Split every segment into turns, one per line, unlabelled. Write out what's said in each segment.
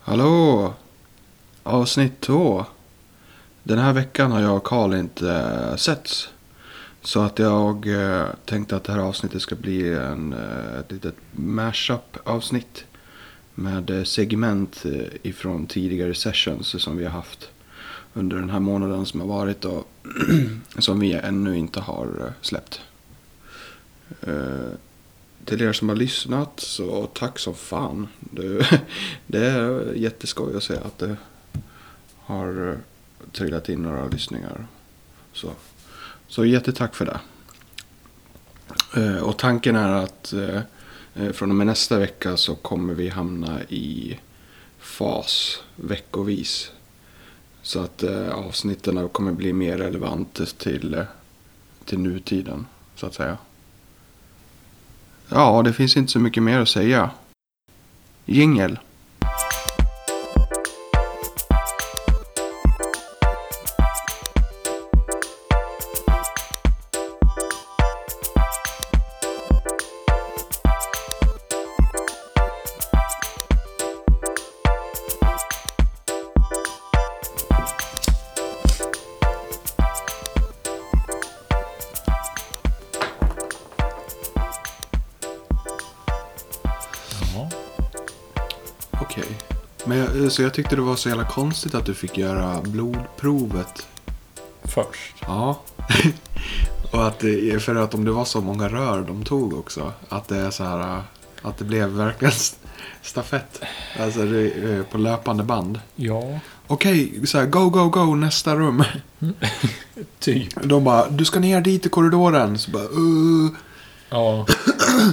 Hallå! Avsnitt två. Den här veckan har jag och Karl inte eh, setts. Så att jag eh, tänkte att det här avsnittet ska bli en, eh, ett litet mashup avsnitt. Med eh, segment eh, ifrån tidigare sessions som vi har haft under den här månaden som har varit och som vi ännu inte har eh, släppt. Eh, till er som har lyssnat så tack som fan. Det, det är jätteskoj att se att det har eh, trillat in några lyssningar. Så, så jättetack för det. Eh, Och tanken är att eh, eh, från och med nästa vecka så kommer vi hamna i fas veckovis. Så att eh, avsnitten kommer bli mer relevanta till, eh, till nutiden så att säga. Ja, det finns inte så mycket mer att säga. Jingel.
Ja.
Okej. Men jag, eh, så jag tyckte det var så jävla konstigt att du fick göra blodprovet.
Först.
Ja. Och att det, för att om det var så många rör de tog också. Att det är så här. äh, Att det blev verkligen st- stafett. Alltså det, är, äh, på löpande band.
Ja,
Okej, så här go, go, go nästa rum.
typ.
De bara, du ska ner dit i korridoren. Så bara, uh.
Ja.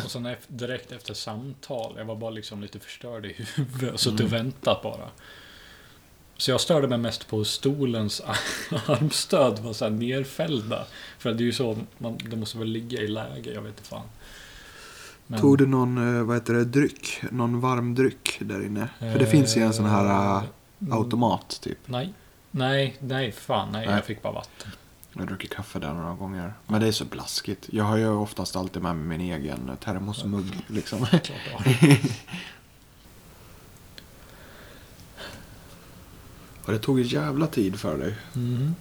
Och sen ef- direkt efter samtal, jag var bara liksom lite förstörd i huvudet och suttit
Mm.
och väntat bara. Så jag störde mig mest på hur stolens armstöd var så här nerfällda. För det är ju så, man, det måste väl ligga i läge, jag vet inte fan. Men,
Tog du någon, eh, vad heter det, dryck? Någon varm dryck där inne? För det finns ju en sån här äh,
eh,
automat typ.
Nej, nej, nej, fan, nej,
Nej.
jag fick bara vatten.
Jag har druckit kaffe där några gånger. Men det är så blaskigt. Jag har ju oftast alltid med mig min egen termosmugg liksom.
Klart det var.
Och det tog ju jävla tid för dig.
Mhm.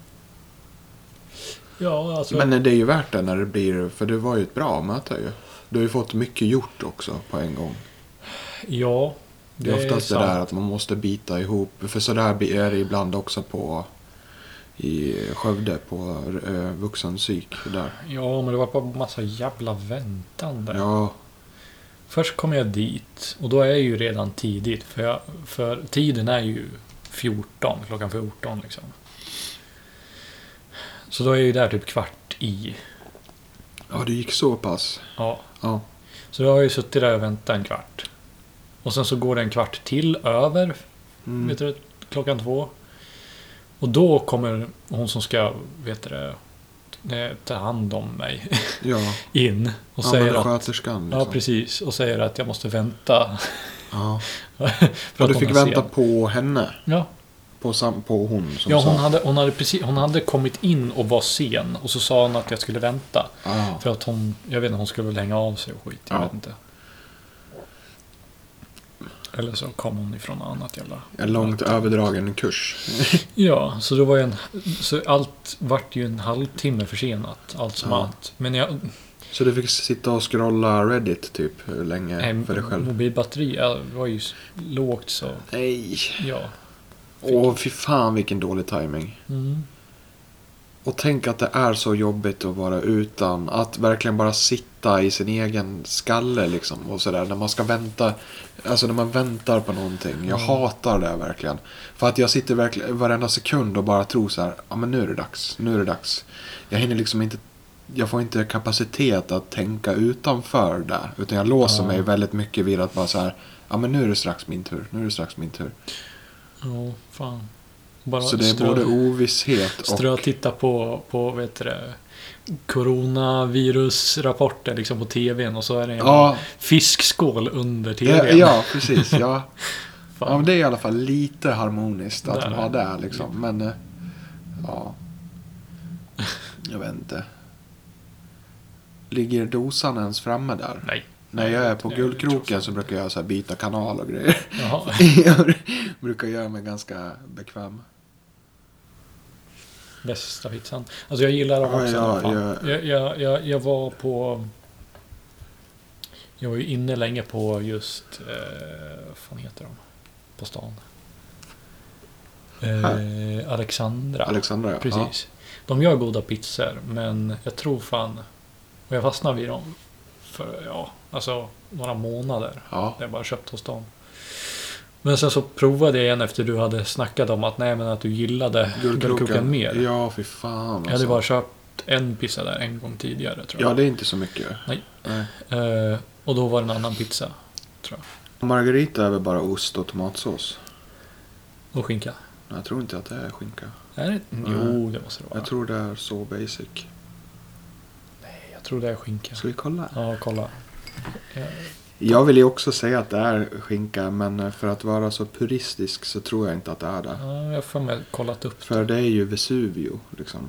Ja, alltså.
Men det är ju värt det när det blir, för det var ju ett bra möte ju. Du har ju fått mycket gjort också på en gång.
ja.
Det är oftast det
sant.
där att man måste bita ihop. För sådär blir- är det ibland också på i Skövde på eh, vuxenpsyk. Där.
Ja, men det var bara massa jävla väntande.
Ja,
Först kom jag dit och då är jag ju redan tidigt. För, jag, för tiden är ju 14, klockan 14 liksom. Så då är jag ju där typ kvart i.
ja, det gick så pass.
Ja.
Ja.
Så då har jag ju suttit där och väntat en kvart. Och sen så går det en kvart till över
Mm.
vet du, klockan två. Och då kommer hon som ska, vet du det, eh, ta hand om mig
Ja,
in och
och ja
säger
men
att...
sköterskan
Ja,
liksom.
precis. Och säger att jag måste vänta.
Ja,
för
Och du
hon
fick
är sen.
vänta på henne?
Ja,
På, sam, på hon som
ja
sa?
hon, hade, hon, hade precis, hon hade kommit in och var sen. Och så sa hon att jag skulle vänta.
Ah.
För att hon, jag vet inte, hon skulle väl hänga av sig och skit. Jag
Ja.
vet inte. Eller så kom hon ifrån något annat jävla...
En långt överdragen kurs.
Ja, så då var ju en... Så allt vart ju en halvtimme försenat. Allt som
Ja.
allt. Men jag...
Så du fick sitta och scrolla Reddit typ hur länge
Nej,
för dig själv?
mobilbatteri ja, var ju s- lågt så...
Nej.
Ja.
Åh, fy fan vilken dålig timing.
Mm.
Och tänk att det är så jobbigt att vara utan. Att verkligen bara sitta i sin egen skalle liksom. Och sådär. När man ska vänta. Alltså när man väntar på någonting. Jag
Mm.
hatar det verkligen. För att jag sitter verkligen varenda sekund och bara tror så här. Ja men nu är det dags. Nu är det dags. Jag hinner liksom inte. Jag får inte kapacitet att tänka utanför där. Utan jag låser
Ja.
mig väldigt mycket vid att bara så här. Ja men nu är det strax min tur. Nu är det strax min tur.
Ja, fan. Bara
Så det är
strö-
både ovisshet och...
Strö och titta på, på vad heter det, coronavirusrapporter liksom på tvn och så är det en
Ja,
fiskskål under
ja,
tvn.
ja, precis. Ja. Ja, men
Fan.
det är i alla fall lite harmoniskt att
Där.
de har det liksom. Men, eh, ja. Jag vet inte. Ligger dosan ens framme där?
Nej.
När jag är på
Nej, det tror jag
guldkroken så brukar jag så här byta kanal och grejer.
Jaha.
jag brukar göra mig ganska bekväm.
Bästa pizzan. Alltså jag gillar dem
Ja,
också.
ja,
Ja,
ja.
Jag, jag, jag, jag var på... Jag var ju inne länge på just... Eh, vad fan heter de? På stan. Eh, Alexandra.
Alexandra, ja.
Precis. De gör goda pizzor, men jag tror fan... Och jag fastnade vid dem för, ja, alltså några månader.
Ja.
Jag bara köpt hos dem. Men sen så provade jag igen efter du hade snackat om att nej men att du gillade
ja.
guldkroken mer.
Ja, fy fan. alltså.
Jag hade bara köpt en pizza där en gång tidigare tror jag.
Ja, det är inte så mycket.
Nej. Eh, och då var det en annan pizza. Tror
Margarita är väl bara ost och tomatsås?
jag. Och skinka.
Nej, Jag tror inte att det är skinka.
Är det? Jo, det måste det vara.
Mm. Jag tror det är så basic.
jag tror det är skinka.
Ska vi kolla?
Ja, kolla.
Jag vill ju också säga att det är skinka, men för att vara så puristisk så tror jag inte att det är det.
Ja, jag har för mig kollat upp
För det är ju Vesuvio, liksom.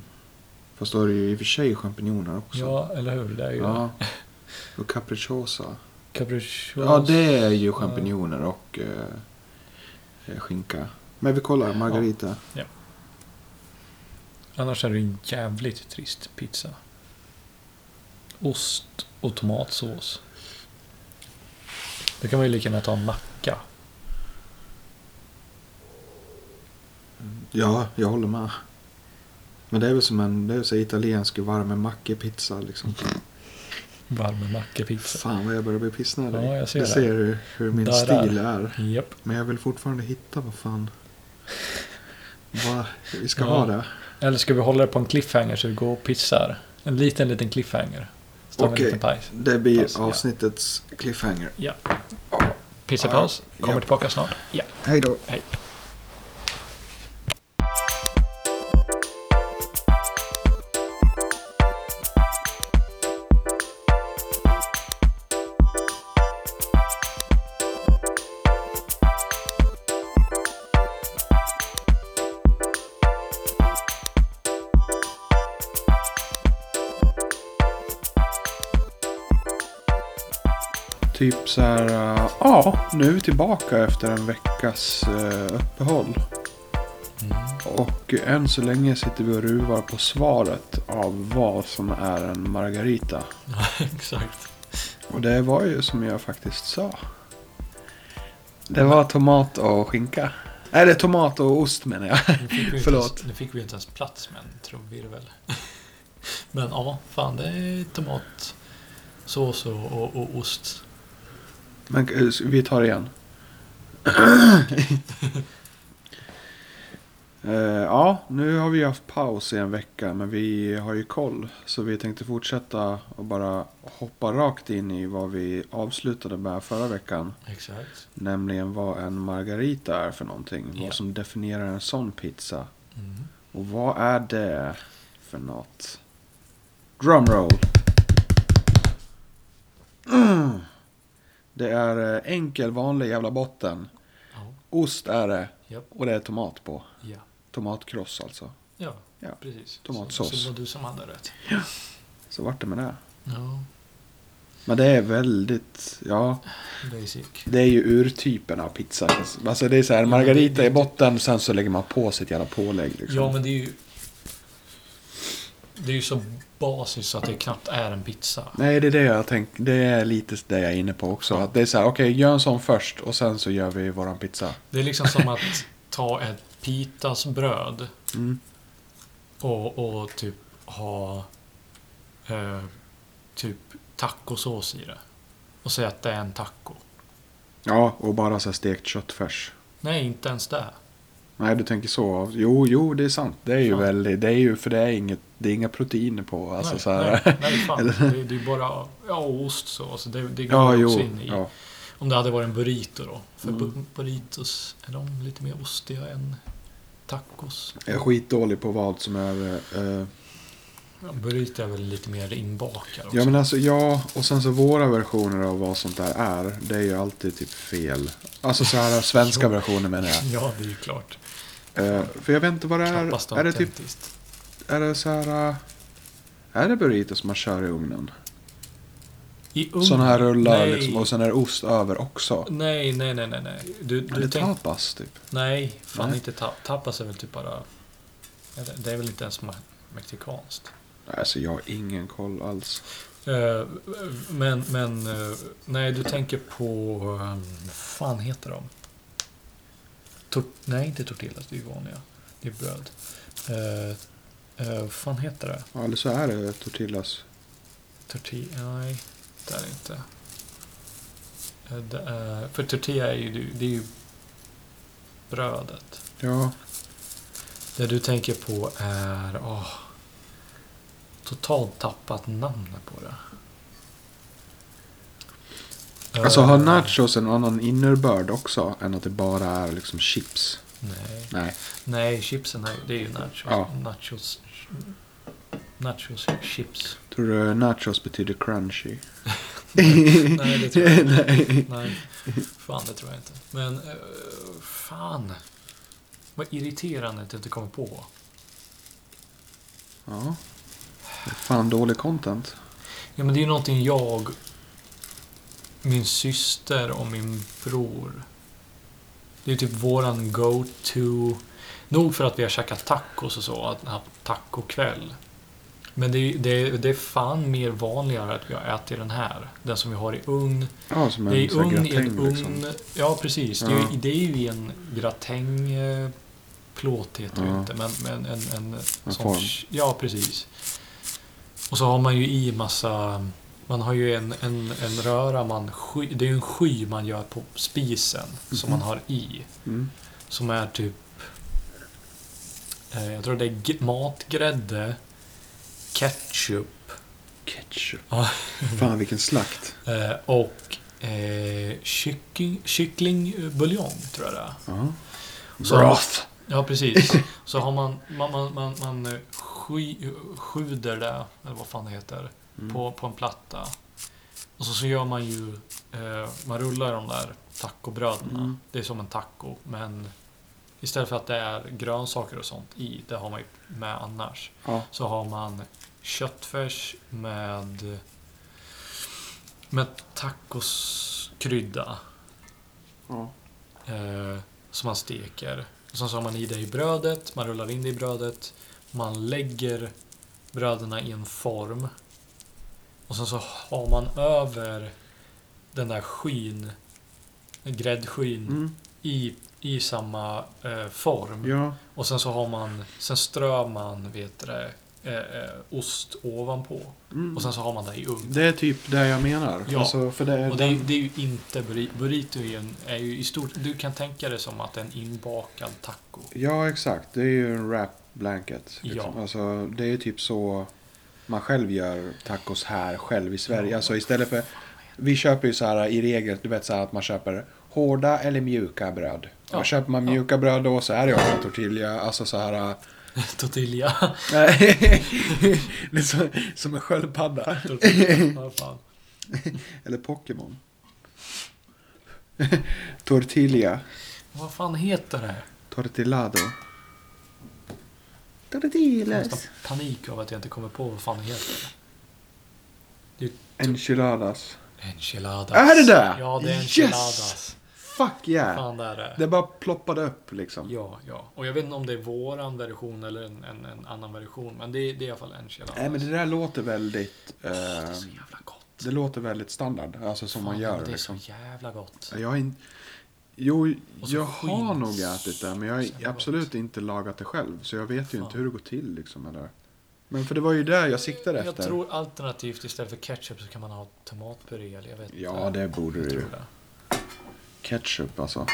Fast då är det ju i och för sig champinjoner också.
Ja, eller hur? Det är ju
Ja. Och capricciosa.
capricciosa.
Ja, det är ju champinjoner och eh, skinka. Men vi kollar, Margarita.
Annars är det en jävligt trist pizza. Ost och tomatsås. Då kan man ju lika gärna ta en macka.
Ja, jag håller med. Men det är väl som en det är väl så här italiensk varm mackepizza liksom.
Varm mackapizza.
Fan vad jag börjar bli pissnödig.
Ja, jag ser
du
det.
ser hur, hur min
Darrar.
stil är.
Japp.
Men jag vill fortfarande hitta vad fan. Vad vi ska
Ja.
ha det.
Eller ska vi hålla det på en cliffhanger så vi går och pissar? En liten, liten cliffhanger. Så tar vi
Okej.
en liten pajs.
Det blir
Pass, ja.
avsnittets cliffhanger.
Ja. Pizzapaus. Kommer
Japp.
tillbaka snart. Ja.
Hej då.
Hej.
Typ så här, äh, ja, nu är vi tillbaka efter en veckas äh, uppehåll. Och än så länge sitter vi och ruvar på svaret av vad som är en margarita.
Exakt.
Och det var ju som jag faktiskt sa. Det var tomat och skinka. Nej, det är tomat och ost menar jag. Förlåt.
Förlåt. Nu fick vi inte ens plats med en trumvirvel. Men ja, fan det är tomat, sås och, och, och ost.
Men eh, vi tar det igen. Eh, ja, nu har vi haft paus i en vecka, men vi har ju koll. Så vi tänkte fortsätta och bara hoppa rakt in i vad vi avslutade med förra veckan.
Exakt.
Nämligen vad en margarita är för någonting.
Ja.
Vad som definierar en sån pizza.
Mm.
Och vad är det för något? Drumroll. Mm. Det är eh, enkel vanlig jävla botten.
Ja.
Ost är det
Japp.
och det är tomat på.
Ja.
Tomatkross alltså.
ja,
Ja.
precis.
Tomatsås.
Så, så det var du som hade rätt.
Så vart det med det.
Ja,
Men det är väldigt, ja,
basic.
det är ju urtypen av pizza. Alltså det är så här, margarita i botten, sen så lägger man på sitt jävla pålägg liksom.
Ja, men det är ju... Det är ju så basiskt så att det knappt är en pizza.
Nej, det är det jag tänker. Det är lite det jag är inne på också. Att det är så här, okej, gör en sån först och sen så gör vi våran pizza.
Det är liksom som att ta ett pitasbröd
Mm.
och, och typ ha eh, typ tacosås i det. Och säga att det är en taco.
Ja, och bara så här stekt köttfärs.
Nej, inte ens det.
Nej, du tänker så. Jo, jo, det är sant. Det är ju
Fan.
väldigt, det är ju, för det är inget, det är inga proteiner på. Alltså
nej,
så här.
nej, nej, fan. Det, det är bara ja, ost så. Alltså, det, det går
Ja, jo.
också in i.
Ja.
Om det hade varit en burrito då. För
Mm.
bu- burritos, är de lite mer ostiga än tacos?
Jag är skitdålig på vad som är... Eh,
Ja, burrito är väl lite mer inbakad också.
ja, men alltså, ja, och sen så våra versioner av vad sånt där är, det är ju alltid typ fel. Alltså så här, svenska
Jo.
versioner menar jag.
Ja, det är ju klart.
Eh, för jag vet inte vad det
Knappast
är. Är det typ
autentiskt.
eh, Är det så här... äh, Är det burritos man kör i ugnen?
I ugn?
Sådana här rullar
Nej.
liksom. Och sen är det ost över också.
Nej, nej, nej, nej. nej. Du,
Eller
du tänk...
tapas typ.
Nej, fan
Nej.
inte ta- tapas är väl typ bara... Ja, det- Det är väl inte ens me- mexikanskt.
Alltså jag har ingen koll alls.
Eh, Men, men, eh, nej du tänker på, eh, vad fan heter de? Tor- nej, inte tortillas, det är ju vanliga. Det är bröd. Eh, eh, Vad fan heter det?
Ja, Eller så är det tortillas.
Tortilla, nej, det är det inte. Eh, Det är, för tortilla är ju, det är ju brödet.
Ja.
Det du tänker på är, åh, totalt tappat namnet på det.
Alltså
Eh,
har nachos en annan innebörd också? Än att det bara är liksom chips?
Nej,
Nej.
nej chipsen är, det är ju nachos.
Ja.
Nachos, nachos chips.
Tror du nachos betyder crunchy?
Nej, det tror jag inte.
Nej.
Nej, fan det tror jag inte. Men, eh, fan. Vad irriterande att jag inte kommer på.
Ja. Det är Fan dålig content.
Ja, men det är ju någonting jag, min syster och min bror. Det är ju typ våran go-to. Nog för att vi har käkat tacos och så, att haft tacokväll. Men det är, det, är, det är fan mer vanligare att vi har ätit den här. Den som vi har i ugn.
Ja, som en
det är i
sån här
ugn i en
gratäng
ugn.
liksom.
Ja, precis. Det, är, ju-
Ja.
det är ju i en gratäng... eh, Plåt heter det
Ja.
ju inte, men, men en, en,
En
sån-
form.
Ja, precis. Och så har man ju i massa... Man har ju en, en, en röra man... Sky, det är ju en sky man gör på spisen som
Mhm.
man har i.
Mm.
Som är typ... eh, Jag tror det är g- matgrädde, ketchup
Ketchup.
Ja.
Fan vilken slakt.
eh, och eh, kyckling, kycklingbuljong, tror jag det är.
Ja.
Så-
Broth.
Ja, precis. Så har man... Man, man, man, man eh, sky, sjuder det, eller vad fan det heter,
Mm.
på, på en platta. Och så, så gör man ju... Eh, man rullar de där tacobröderna.
Mm.
Det är som en taco, men istället för att det är grönsaker och sånt i, det har man ju med annars.
Ja.
Så har man köttfärs med, med tacoskrydda
Ja.
eh, som man steker. Och sen så har man i det i brödet, man rullar in det i brödet, man lägger bröderna i en form. Och sen så har man över den där skyn, gräddskyn,
Mm.
i, i samma eh, form.
Ja. Mm.
Och sen så har man, sen strör man, vet du det, eh, eh, ost ovanpå.
Mm.
Och sen så har man det i ugn.
Det är typ det jag menar.
Ja.
Alltså, för det är
Och det är, ju- det är ju inte burrito. Burrito är ju, en, är ju i stort, du kan tänka det som att det är en inbakad taco.
Ja, exakt. Det är ju en wrap blanket. Liksom.
Ja.
Alltså, det är ju typ så man själv gör tacos här själv i Sverige.
Ja.
Alltså istället för... Vi köper ju så här i regel, du vet så här att man köper hårda eller mjuka bröd.
Ja.
Och köper man
Ja.
mjuka bröd då så är det ju ofta tortilla. Alltså så här...
Tortilla.
Nej, det är så, som en sköldpadda.
Tortilla. Vad fan.
Eller Pokémon. Tortilla.
Vad fan heter det?
Tortillado.
Jag har nästan
Tortillas.
panik av att jag inte kommer på vad fan det heter.
Enchiladas.
Enchiladas.
Är det det?
Ja, det är
Yes!
enchiladas.
Fuck yeah.
Fan, det är det.
Det bara ploppade upp liksom.
Ja, ja. Och jag vet inte om det är våran version eller en, en, en annan version. Men det, är- det är i alla fall enchiladas.
Nej men det där låter väldigt... eh,
Åh, det är så jävla gott.
det låter väldigt standard. Alltså som man
Fan,
gör
Det är
liksom.
så jävla gott.
Jag har in... Jo,
Och så
jag
skinn.
har nog ätit det. Men jag
Så
har
jävla
absolut
gott.
inte lagat det själv. Så jag vet ju
Fan.
inte hur det går till liksom. Eller. Men för det var ju där jag siktade
jag
efter.
tror alternativt istället för ketchup så kan man ha tomatpuré eller jag vet
Ja, det borde
jag
du
tror
ju.
det.
Ketchup alltså.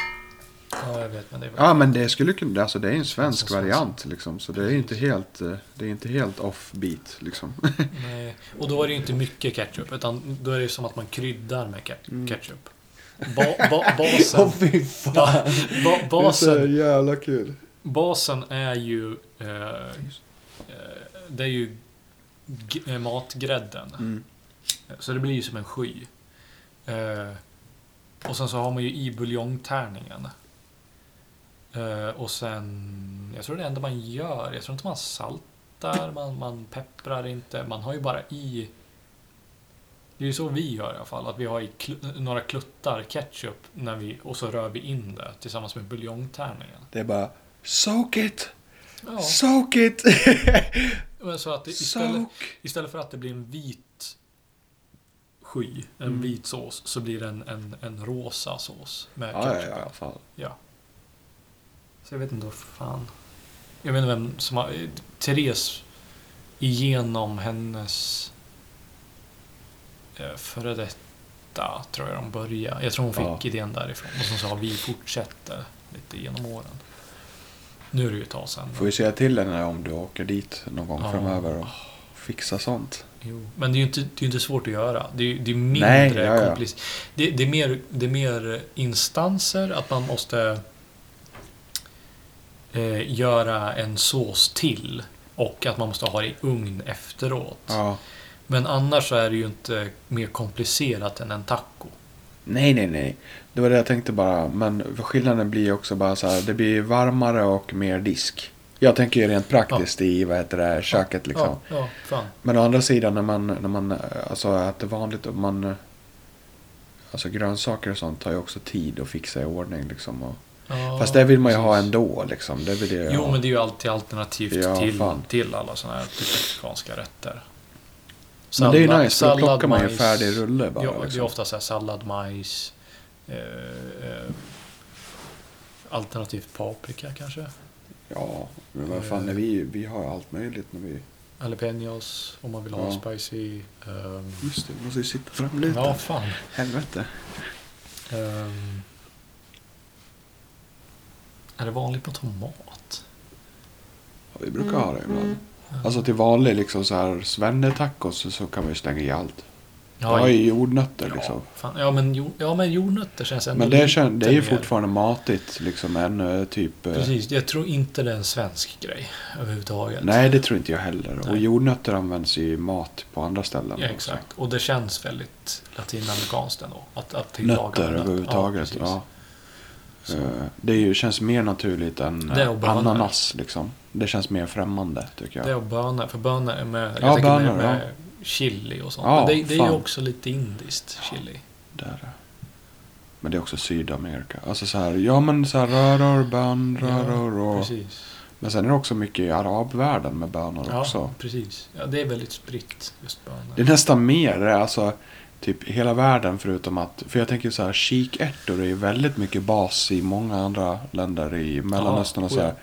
Ja, jag vet men det är väl...
Ja men det skulle kunna, alltså det är en
Alltså,
svensk
svensk.
variant liksom. Så det är ju inte helt, eh, det är inte helt offbeat liksom.
Nej. Och då är det ju inte mycket ketchup utan då är det ju som att man kryddar med ke- ketchup. Ba, ba, basen...
Mm. fy
Ja, ba,
Det är
basen,
så jävla kul.
basen är ju... Eh, eh, det är ju g- eh, matgrädden.
Mm.
Så det blir ju som en sky. Eh, och sen så har man ju i buljongtärningen. Eh, och sen, jag tror det enda man gör, jag tror inte man saltar, man, man pepprar inte, man har ju bara i Det är ju så vi gör i alla fall. Att vi har i kl- några kluttar ketchup när vi, och så rör vi in det tillsammans med buljongtärningen.
Det är bara soak it,
Ja,
soak it,
men så att det, istället,
soak.
istället för att det blir en vit sky, en
Mm.
vit sås, så blir det en, en, en rosa sås med
Ja, ja,
ketchup.
ja, i alla fall.
Så jag vet inte vad fan. Jag vet inte vem som har... eh, Therese igenom hennes eh, före detta tror jag de började. Jag tror hon fick
Ja.
idén därifrån. Och som sa vi fortsätter lite genom åren. Nu är det ju ett tag sedan. men-
Får vi säga till henne om du åker dit någon gång
Ja.
framöver och fixa sånt.
Jo. Men det är ju inte, det är ju inte svårt att göra. Det är, ju- det är
Nej,
mindre
ja, ja.
komplicerat. Det, det, är mer, det är mer instanser, att man måste eh, göra en sås till. Och att man måste ha det i ugn efteråt.
Ja.
Men annars så är det ju inte mer komplicerat än en taco.
Nej, nej, nej. Det var det jag tänkte bara. Men skillnaden blir också bara så här. Det blir varmare och mer disk. Jag tänker ju rent praktiskt i vad heter det, köket liksom.
Ja, ja fan.
Men å andra sidan när man, när man eh, alltså, äter vanligt och man... eh, Alltså grönsaker och sånt tar ju också tid att fixa i ordning liksom. Och,
Ja,
fast det vill man ju ha
precis.
ändå liksom. Det vill det jag
Jo, men det är ju alltid alternativt
Ja,
till,
fan.
till alla sådana här typ mexikanska rätter.
men det är ju
Sallad-
nice. För då
sallad,
plockar man ju
majs.
färdig rulle bara.
Ja, det är
liksom.
ofta så här sallad, majs. Eh, eh, alternativt paprika kanske.
ja, men vad fan.
Eh.
När vi, vi har allt möjligt när vi...
Jalapenos om man vill ha
Ja.
spicy. ehm,
Just det, vi måste ju sitta framlutad.
ja, fan.
Helvete.
Ehm, är det vanligt på tomat?
Ja, Vi brukar ha det ibland.
Mm.
Alltså till vanlig liksom så här svennetacos så- så kan man ju slänga i allt. Jag har ju jordnötter liksom.
Fan. Ja, men, jo- ja, men jordnötter känns ändå
Men det,
lite
kän- det är ju
mer-
fortfarande matigt liksom ännu typ. eh,
Precis, jag tror inte det är en svensk grej överhuvudtaget.
Nej, det tror inte jag heller. Och
Nej.
jordnötter används ju i mat på andra ställen.
Ja,
också.
exakt. Och det känns väldigt latinamerikanskt ändå. Att, att tillaga
Nötter
med
överhuvudtaget.
precis.
Ja,
Så.
Eh, Det är ju, känns mer naturligt än eh,
Det och bönor.
ananas liksom. Det känns mer främmande tycker jag.
Det och bönor, för bönor är med,
Ja,
jag tänker
bönor,
med, med chili och sånt.
Ja,
Men det, det är ju
fan.
också lite indiskt, chili.
Där. Men det är också Sydamerika. Alltså så här, ja men så här röror, bön, röror och...
Precis.
Men sen är det också mycket i arabvärlden med bönor
Ja,
också.
precis. Ja, det är väldigt spritt, just bönor.
Det är nästan mer, alltså typ hela världen förutom att, för jag tänker så här kikärtor är ju väldigt mycket bas i många andra länder i Mellanöstern och
Ja,
så
oh ja.
här.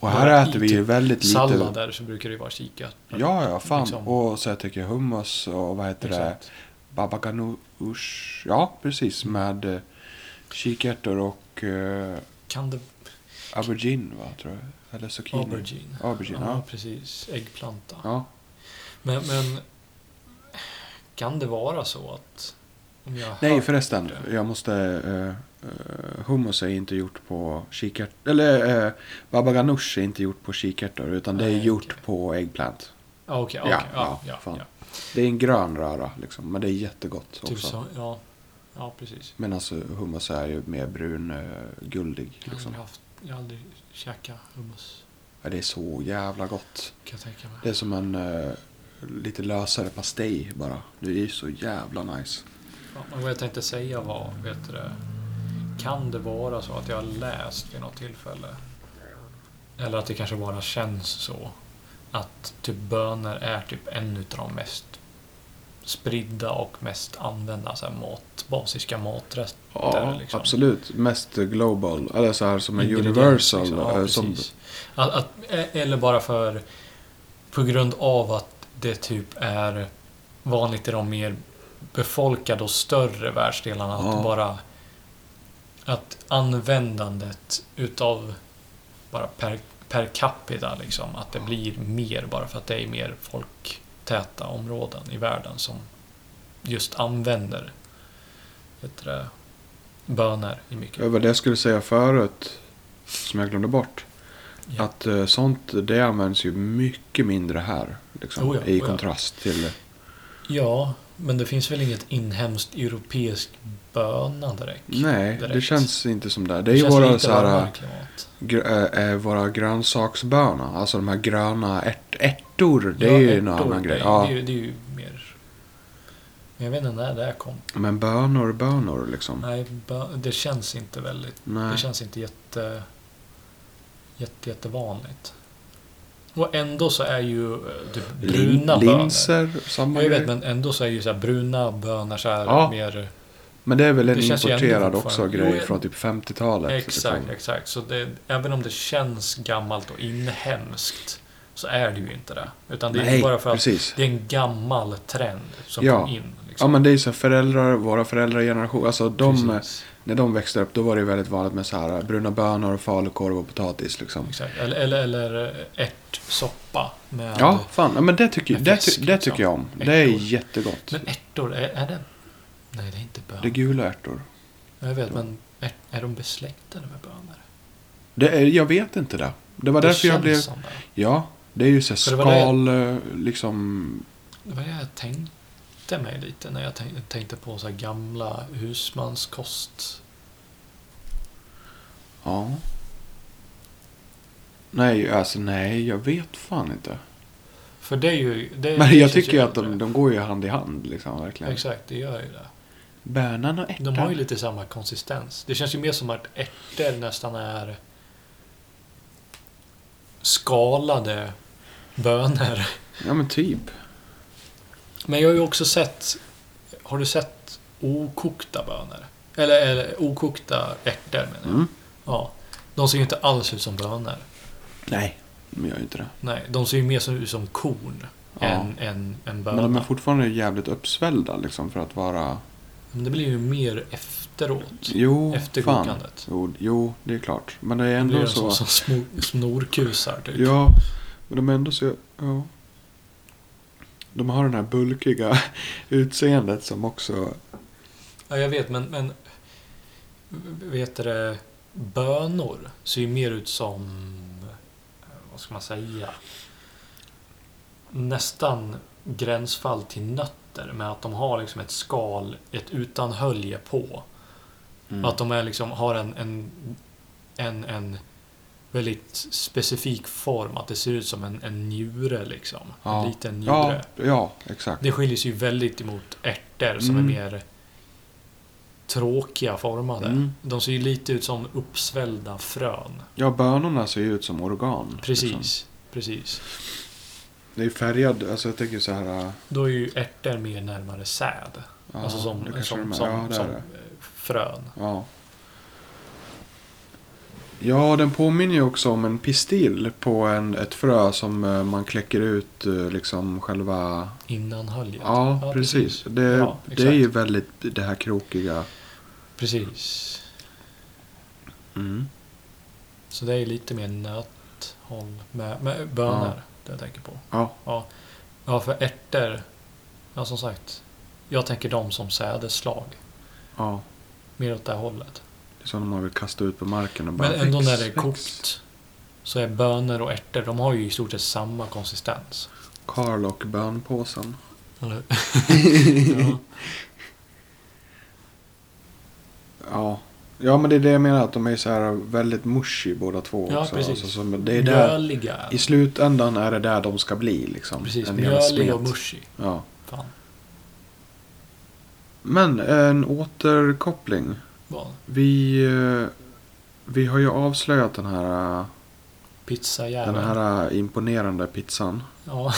Och här
Ja, i
äter vi ju
typ
väldigt lite.
Sallader så brukar det ju vara kika.
Ja, ja, fan.
Liksom.
Och så jag tänker hummus och vad heter det?
Exakt.
Baba ganoush. Ja, precis. Med eh, kikärtor och eh,
Kan det...
aubergine, va, tror jag. Eller zucchini.
Aubergine.
Aubergine,
ja,
ja.
precis. Äggplanta.
Ja.
Men, men... Kan det vara så att... Om jag har
Nej,
hört
förresten.
det-
Jag måste... eh, eh, hummus är inte gjort på kikärtor. Eller eh, baba ganoush är inte gjort på kikärtor. Utan det är
Nej, okej.
gjort på äggplant.
Ja, okej.
Ja,
okej, ja,
ja,
ja,
fan.
ja,
Det är en grön röra, liksom. Men det är jättegott
Typ
också.
så, ja. Ja, precis.
Men alltså hummus är ju mer brun, eh, guldig.
Jag har,
Liksom.
aldrig haft, jag har aldrig käkat hummus,
Ja, det är så jävla gott.
kan jag tänka mig.
Det är som en eh, lite lösare pastej bara. Det är ju så jävla nice.
Ja, men vad jag tänkte säga var, vet du det, kan det vara så att jag har läst vid något tillfälle, eller att det kanske bara känns så, att typ bönor är typ en utav de mest spridda och mest använda så här mat, basiska maträtter.
Ja,
liksom.
absolut. Mest global, eller så här som en
Ingrediens,
universal.
liksom. Ja,
eh, som,
precis. att, att, e- eller bara för, på grund av att det typ är vanligt i de mer befolkade och större världsdelarna
Ja.
att bara att användandet utav bara per, per capita liksom, att det blir mer bara för att det är mer folktäta områden i världen som just använder vet du, det, bönor i mycket.
Det var det jag skulle säga förut, som jag glömde bort.
Ja.
Att eh, sånt, det används ju mycket mindre här. Liksom,
Oh ja,
I
oh ja.
kontrast till...
Ja, men det finns väl inget inhemskt europeiskt böna direkt?
Nej, det
direkt.
känns inte som det. Det är ju
känns
våra,
lite
så här, äh,
varmare klimat.
gr- eh, eh, våra grönsaksbönor. Alltså de här gröna ärt- ärtor. Det är ju en
ärtor,
annan grej.
Det,
Ja.
det, är ju, det är ju mer Jag vet inte när det här kom.
Men bönor, bönor liksom.
Nej, bö- det känns inte väldigt... Det
Nej.
känns inte jätte, jätte, jättevanligt. Och ändå så är ju eh, typ
Lin-
bruna bönor.
Linser, samma
Jag vet,
grej.
men ändå så är ju så här bruna bönor så här
Ja,
mer...
Men det är väl en
Det känns ju ändå
importerad också
fortfarande.
grej
Jo,
från typ 50-talet.
Exakt,
liksom.
exakt. Så det, även om det känns gammalt och inhemskt så är det ju inte det. Utan det är
Nej,
ju bara för att
precis.
det är en gammal trend som
Ja.
kom in.
Ja
Liksom.
men det är ju så här föräldrar, våra föräldrageneration. Alltså de,
Precis.
när de växte upp då var det ju väldigt vanligt med så här eh, bruna bönor, falukorv och potatis liksom.
Exakt. Eller, eller, eller eh, ärtsoppa med...
Ja, fan. Ja, men det tycker,
Med
det,
fisk,
ty, det
liksom.
tycker jag om. Det är
Äckor.
jättegott.
Men ärtor, är, är det... Nej, det är inte bönor.
Det är gula ärtor.
Jag vet, men är, är de besläktade med bönor?
Det är, jag vet inte det. Det var därför jag
känns
blev...
som det.
Ja, det är ju så här
För det var det-
skal, eh, liksom...
Det var det jag tänkte mig lite när jag tänk- tänkte på så här gamla husmanskost.
Ja. Nej, alltså nej, jag vet fan inte.
För det är ju... Det, det
Men jag
känns
tycker ju att
äldre.
de, de går ju hand i hand liksom, verkligen.
Exakt, det gör ju det.
Bönan och ärtan.
De har ju lite samma konsistens. Det känns ju mer som att ärtor nästan är skalade bönor.
Ja, men typ.
Men jag har ju också sett... Har du sett okokta bönor? Eller, eller okokta ärtor menar jag.
Mm.
Ja. De ser ju inte alls ut som bönor.
Nej, de gör ju inte det.
Nej, de ser ju mer som, ut som korn
Ja.
än, än, än bönor.
Men de är
Men,
fortfarande jävligt uppsvällda liksom för att vara...
det blir ju mer efteråt.
Jo,
efter
fan.
kokandet.
Jo, jo, det är klart. Men det är
Det
ändå
blir ju
så...
som, som små- snorkusar typ.
Ja, men de är ändå så... Ja. De har den här bulkiga utseendet som också...
Ja, jag vet, men, men vet du det, bönor ser ju mer ut som, eh, vad ska man säga, nästan gränsfall till nötter med att de har liksom ett skal, ett utan hölje på.
Mm.
Att de är liksom, har en, en, en, en väldigt specifik form, att det ser ut som en, en njure liksom.
Ja.
En liten njure.
Ja, ja, exakt.
Det skiljer sig ju väldigt emot ärtor som
Mm.
är mer tråkiga formade.
Mm.
De ser ju lite ut som uppsvällda frön.
Ja, bönorna ser ju ut som organ.
Precis,
liksom.
precis.
Det är ju färgad, alltså jag tänker så här... äh,
Då är ju ärtor mer närmare säd.
Ja,
alltså
det
som,
kanske de
som,
är.
som,
ja, det är
som
det.
eh, frön.
Ja. Ja, den påminner ju också om en pistill på en, ett frö som eh, man kläcker ut eh, liksom själva...
Innan höljet.
Ja, precis. Det,
Ja,
det är ju
exakt.
väldigt det här krokiga.
Precis.
Mm.
Så det är lite mer nöthåll med, med bönor.
Ja.
Det jag tänker på.
Ja.
Ja, ja för ärtor. Ja, som sagt. Jag tänker dem som sädesslag.
ja.
Mer åt det här hållet.
Det är som om man vill kasta ut på marken och bara...
Men ändå
väx,
när det är
väx.
kokt så är bönor och ärtor, de har ju i stort sett samma konsistens.
Karl och bönpåsen.
Eller?
Ja. Ja, men det är det jag menar. Att de är så här väldigt mushy båda två
Ja,
också.
precis.
Alltså, som, det är där,
Mjöliga. är
I
de.
slutändan är det där de ska bli liksom.
Precis,
En jävla
mjölig
smet.
och mushy.
Ja.
Fan,
Men en återkoppling.
vad?
Vi, eh, vi har ju avslöjat den här, eh, den
Pizzajäveln.
här eh, imponerande pizzan.
Ja,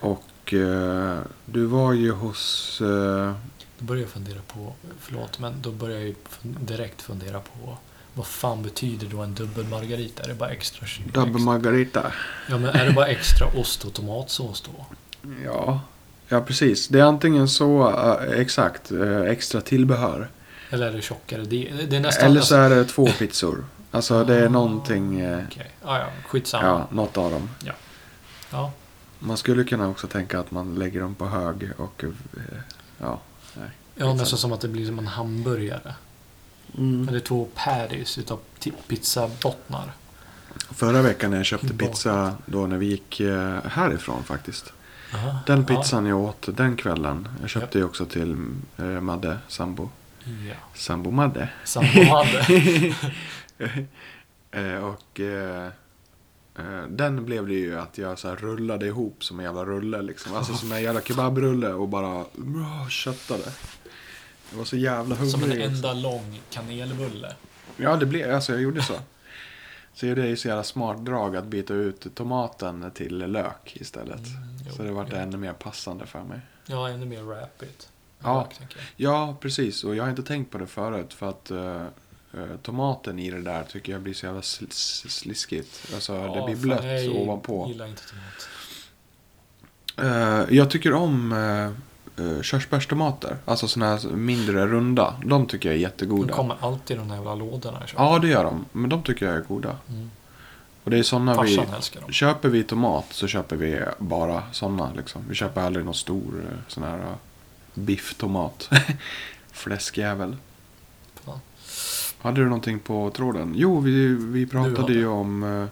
Och eh, du var ju hos... eh,
då börjar jag fundera på, förlåt, men då börjar jag ju fun- direkt fundera på vad fan betyder då en dubbel margarita? Är det bara extra...
Dabbe
extra
Margarita.
ja, men är det bara extra ost och tomatsås då?
Ja. Ja, precis. Det är antingen så, eh, exakt, eh, extra tillbehör.
Eller är det tjockare? Det, det är nästan...
Eller så är det två pizzor. Alltså det är någonting, eh,
Okej, ah, ja, skitsamma.
ja, något av dem.
ja.
Man skulle kunna också tänka att man lägger dem på hög och eh, ja.
Ja, nästan som att det blir som en hamburgare.
Mm.
Men det är två patties utav ti- pizzabottnar.
Förra veckan när jag köpte
Bakåt.
pizza då när vi gick eh, härifrån faktiskt.
Aha,
Den pizzan jag åt den kvällen. Jag köpte
Japp.
ju också till eh, Madde, sambo.
Ja, ja.
Sambo Madde.
Sambo hade.
Eh, och eh, Eh, Den blev det ju att jag så här rullade ihop som en jävla rulle liksom. Alltså som en jävla kebabrulle och bara mm, köttade. Jag var så jävla
Som en
hungrig.
enda lång kanelbulle.
Ja, det blev, alltså jag gjorde så. Så det är ju så jävla smart drag att byta ut tomaten till lök istället.
Mm. jo,
så det vart
jo.
ännu mer passande för mig.
Ja, ännu mer rapid.
Ja.
Rakt, tänker jag.
Ja, precis. Och jag har inte tänkt på det förut. För att eh, eh, tomaten i det där tycker jag blir så jävla sl- sl- sliskigt. Alltså det
Ja,
blir
fan,
blött
jag
ovanpå.
gillar inte tomat.
Eh, jag tycker om eh, eh, körsbärstomater. Alltså sådana här mindre runda. De tycker jag är
De
jättegoda.
kommer alltid i de där jävla lådorna. jag köper.
Ja, det gör de. Men de tycker jag är goda.
Mm.
Och det är sådana vi...
Farsan älskar dem.
Köper vi tomat så köper vi bara sådana. Liksom. Vi köper aldrig någon stor eh, sån här eh, bifftomat. Fläskjävel.
Fan.
Hade du någonting på tråden? Jo, vi, vi pratade
hade.
ju om... eh,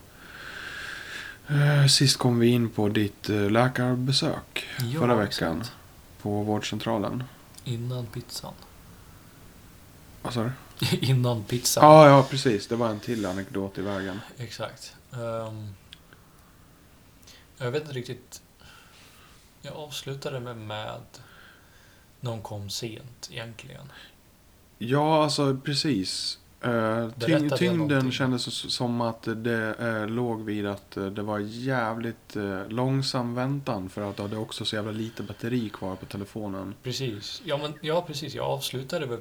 eh, sist kom vi in på ditt eh, läkarbesök
Ja,
förra veckan.
exakt.
På vårdcentralen.
Innan pizzan.
Vad sa du?
Innan pizzan.
Ja, ja, precis. Det var en till anekdot i vägen.
Exakt. Ehm, jag vet inte riktigt. Jag avslutade med, med någon kom sent egentligen.
Ja, alltså precis. Eh, tyng,
jag
tyngden
någonting?
kändes s- som att det eh, låg vid att eh, det var jävligt eh, långsam väntan för att du hade också så jävla lite batteri kvar på telefonen.
Precis. Ja, men, ja precis. Jag avslutade med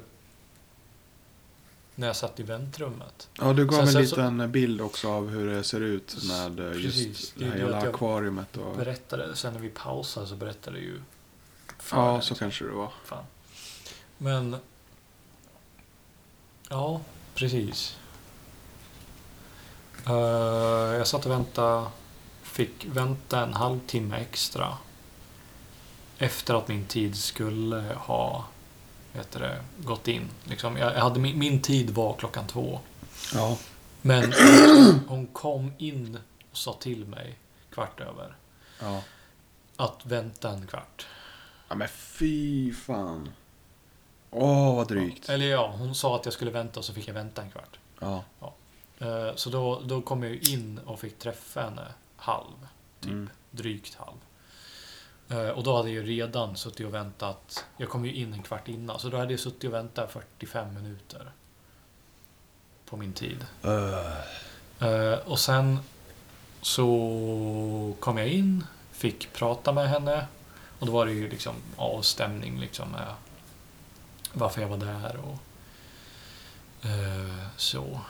när jag satt i väntrummet.
Ja, du gav
Sen-
en
sen så-
liten bild också av hur det ser ut med eh,
Precis,
just
det
det
är
här
det
jävla
att jag-
akvariet. Och...
Berättade, sen när vi pausade så berättade ju...
Ja,
föraren.
så kanske det var.
Fan. Men... Ja, precis. Eh, jag satt och väntade. Fick vänta en halvtimme extra. Efter att min tid skulle ha vet du det, gått in. Liksom, jag jag hade, min, min tid var klockan två.
Ja.
Men hon kom in och sa till mig kvart över
ja.
att vänta en kvart.
Ja, men fy fan. Åh, vad drygt.
Eller ja, eh, hon sa att jag skulle vänta och så fick jag vänta en kvart.
Ja.
Eh, Så då, då kom jag ju in och fick träffa henne halv, typ.
Mm.
Drygt halv. Eh, Och då hade jag ju redan suttit och väntat. Jag kom ju in en kvart innan, så då hade jag suttit och väntat 45 minuter. På min tid. Eh, Och sen så kom jag in, fick prata med henne. Och då var det ju liksom avstämning liksom med varför jag var där och eh, så.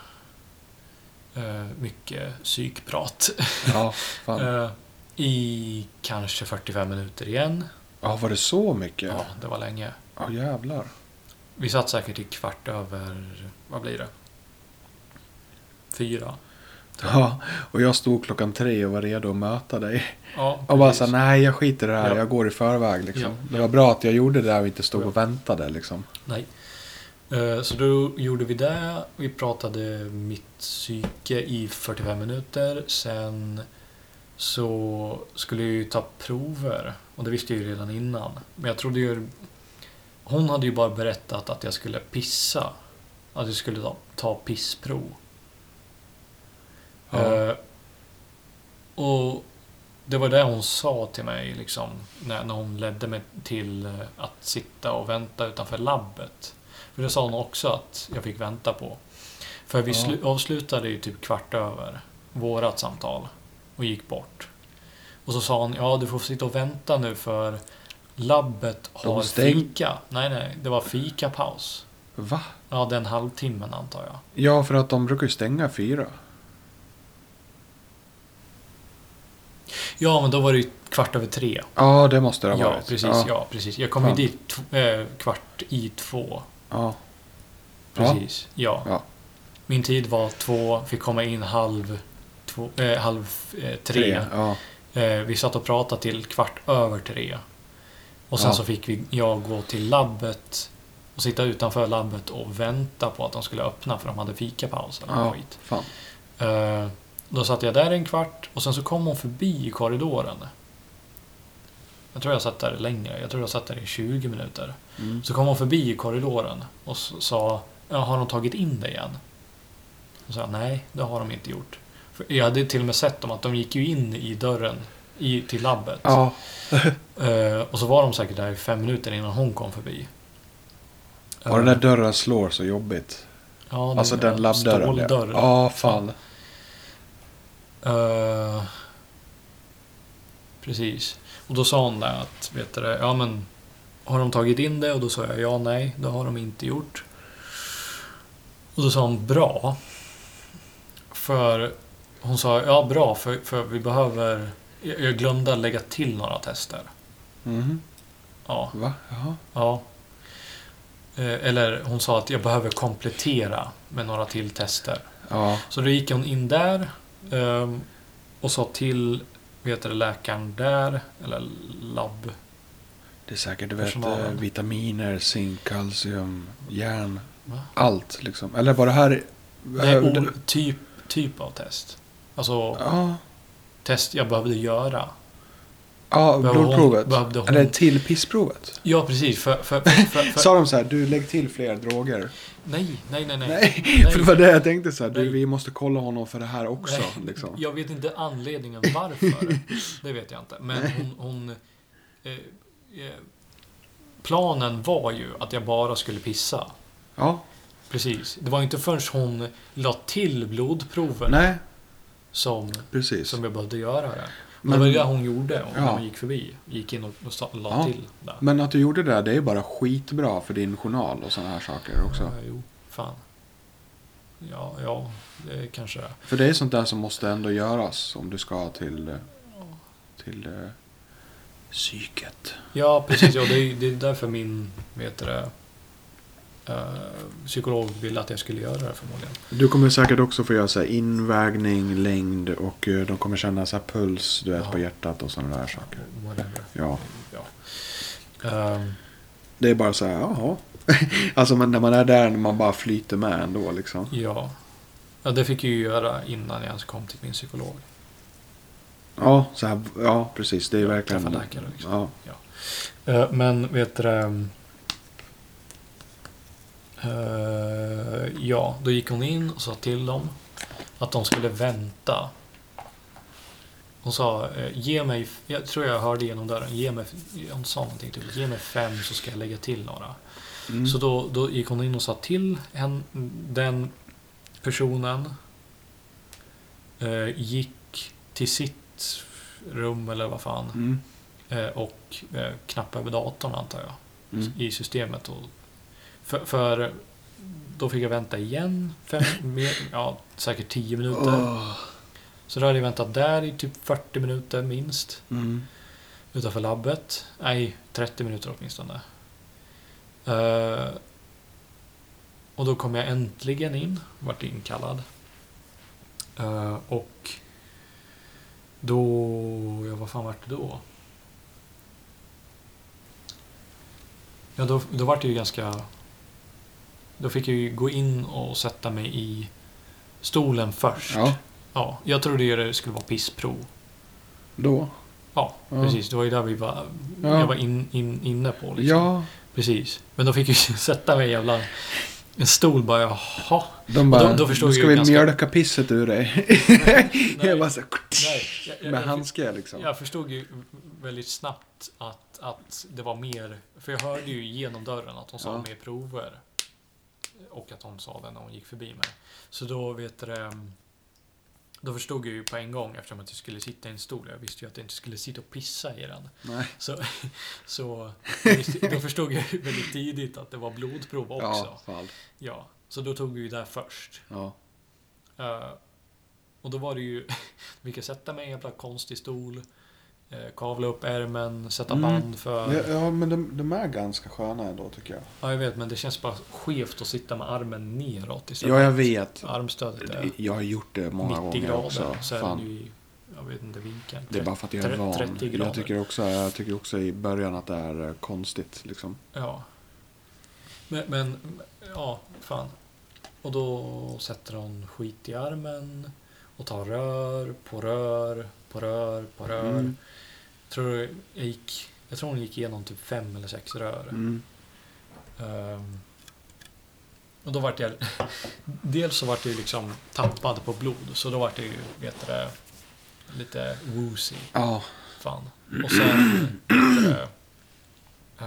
Eh, mycket psykprat.
Ja, fan.
Eh, I kanske 45 minuter igen.
Ja, var det så
Ja,
mycket? Ja,
det var länge.
jävlar.
Vi satt säkert i kvart över, vad blir det? Fyra.
Ja, och jag stod klockan tre och var redo att möta dig.
Ja,
Och bara sa
precis.
nej jag skiter i det här,
Ja.
jag går i förväg liksom.
Ja.
Det var bra att jag gjorde det där och inte stod
Ja.
och väntade liksom.
Nej. Eh, Så då gjorde vi det. Vi pratade mitt psyke i 45 minuter. Sen så skulle jag ju ta prover. Och det visste jag ju redan innan. Men jag trodde ju... Hon hade ju bara berättat att jag skulle pissa. Att jag skulle ta, ta pissprov.
Ja.
Eh, och det var det hon sa till mig liksom, när, när hon ledde mig till eh, att sitta och vänta utanför labbet. För det sa hon också att jag fick vänta på. För vi
Ja.
slu- avslutade ju typ kvart över vårat samtal och gick bort. Och så sa hon, ja du får sitta och vänta nu för labbet
De
har
stäng-
fika. Nej, nej, det var fikapaus.
Va?
Ja, den halvtimmen antar jag.
Ja, för att de brukar ju stänga fyra.
Ja, men då var det ju kvart över tre.
Ja, det måste det ha
Ja,
varit.
precis.
ja.
Ja. precis. Jag kom ju
Fan.
dit tw- eh, kvart i två.
ja.
Precis. Ja.
Ja.
Min tid var två, fick komma in halv, två, eh, halv eh, tre.
Ja.
Eh, vi satt och pratade till kvart över tre. Och sen
Ja.
så fick vi, jag gå till labbet och sitta utanför labbet och vänta på att de skulle öppna för de hade fikapaus eller
Ja.
skit.
Fan.
Eh, då satt jag där en kvart och sen så kom hon förbi i korridoren. Jag tror jag satt där längre. Jag tror jag satt där i 20 minuter.
Mm.
Så kom hon förbi i korridoren och s- sa "Ja, Har de tagit in dig igen? Och sa jag, nej, det har de inte gjort. För Jag hade till och med sett dem att de gick ju in i dörren i, till labbet.
Ja.
Eh, och så var de säkert där i fem minuter innan hon kom förbi.
Och den där dörren slår så jobbigt.
ja, det-
Alltså den labbdörren.
Ståldörren.
Ja, fan.
Eh, precis. Och då sa hon där att, vet du det, ja men har de tagit in det? Och då sa jag ja, nej, det har de inte gjort. Och då sa hon bra. För hon sa ja, bra, för, för vi behöver... Jag jag glömde att lägga till några tester.
Mhm.
Ja,
Va? Jaha.
ja. Eh, Eller hon sa att jag behöver komplettera med några till tester.
Ja.
Så då gick hon in där ehm, och sa till vet du, läkaren där, eller labb.
Det är säkert du vet,
Personalen.
eh, vitaminer, zink, kalcium, järn.
Va?
Allt liksom. Eller var det här...
Det är
eh,
o- typ, typ av test. Alltså
Ja.
test jag behövde göra.
Ja,
Behöver hon-
blodprovet.
behövde hon-
Eller till pissprovet.
Ja, precis. För, för, för, för, för,
Sa de så här, du lägg till fler droger.
nej, nej, nej, nej.
Nej, för det var det jag tänkte så här, du,
Nej.
vi måste kolla honom för det här också.
Nej,
Liksom.
Jag vet inte anledningen varför. det vet jag inte. Men hon... hon eh, eh, planen var ju att jag bara skulle pissa.
Ja,
Precis. Det var inte förrän hon la till blodproven
nej,
som,
precis.
som jag behövde göra det. Men,
Men-
det var det hon gjorde och när
Ja.
hon gick förbi. Gick in och, och sa- la
Ja.
till där.
Men att du gjorde det, där, det är bara skitbra för din journal och sådana här saker också.
Ja, jo, fan. Ja, ja, det kanske det är.
För det är sånt där som måste ändå göras om du ska till... eh, Till... eh, Psyket.
Ja, precis. Ja, det, är, det är därför min vet du, det, eh, psykolog ville att jag skulle göra det förmodligen.
Du kommer säkert också få göra så här invägning, längd och eh, de kommer känna så här puls du vet,
Ja.
på hjärtat och sådana där saker.
Whatever.
Ja.
Ja. Ehm,
Det är bara så här, jaha. alltså men när man är där, när man bara flyter med ändå liksom.
ja. ja, det fick jag ju göra innan jag ens kom till min psykolog.
Ja, så här, ja precis. Det är verkligen...
träffa läkare, liksom.
Ja.
Eh, Men vet du det, ehm, eh, Ja, då gick hon in och sa till dem att de skulle vänta. Hon sa, eh, ge mig, jag tror jag hörde genom dörren, ge mig, hon sa någonting typ, ge mig fem så ska jag lägga till några.
Mm.
Så då, då gick hon in och sa till en, den personen. Eh, gick till sitt rum eller vad fan.
Mm.
Eh, och eh, knappa över datorn antar jag.
Mm.
I systemet. Och för, för då fick jag vänta igen. Fem, mer, ja, säkert 10 minuter.
Åh.
Så då hade jag väntat där i typ 40 minuter minst.
Mm.
Utanför labbet. Nej, 30 minuter åtminstone. Eh, och då kom jag äntligen in. Vart inkallad. Eh, och då... Ja, vad fan vart det då? Ja, då, då vart det ju ganska... Då fick jag ju gå in och sätta mig i stolen först.
Ja,
Ja, jag trodde ju det skulle vara pissprov.
då.
Ja,
Ja.
precis. Det var ju där vi var,
Ja.
jag var in, in, inne på. Liksom.
Ja,
Precis. Men de fick ju sätta mig i jävla en stol bara, jaha.
de bara,
då- då förstod
nu ska
jag
vi
ju ganska-
mjölka pisset ur dig. jag bara så här,
Nej, jag, jag,
med
jag,
handske liksom.
jag förstod ju väldigt snabbt att, att det var mer, för jag hörde ju genom dörren att hon sa
Ja.
mer prover. Och att hon sa det när hon gick förbi mig. Så då vet du det, då förstod jag ju på en gång eftersom att jag skulle sitta i en stol. Jag visste ju att jag inte skulle sitta och pissa i den.
Nej.
Så, så jag visste- då förstod jag ju väldigt tidigt att det var blodprov också.
Ja,
Ja.
fall.
så då tog vi ju det först.
Ja.
Eh, och då var det ju, vi kan sätta mig i en jävla konstig stol, eh, kavla upp ärmen, sätta
Mm.
band för...
Ja, ja, men de, de är ganska sköna ändå tycker jag.
Ja, jag vet, men det känns bara skevt att sitta med armen neråt istället.
Ja, jag vet.
Armstödet är
Jag har gjort det många
90
gånger också.
grader, så är den ju
Fan.
i, jag vet inte vinkeln.
Det är bara för att jag är
Tre-
van.
30 grader.
Jag tycker, också, jag tycker också i början att det är eh, konstigt. Liksom.
Ja. Men, men, ja, fan. Och då sätter hon skit i armen och tar rör på rör på rör på rör.
Mm.
Tror jag, gick, jag Mm. tror hon gick igenom typ fem eller sex rör.
Mm.
Ehm, Och då vart jag... Dels så vart jag ju liksom tappad på blod, så då vart jag ju, vet du det, lite woozy.
Ja.
Fan. Och sen... äh,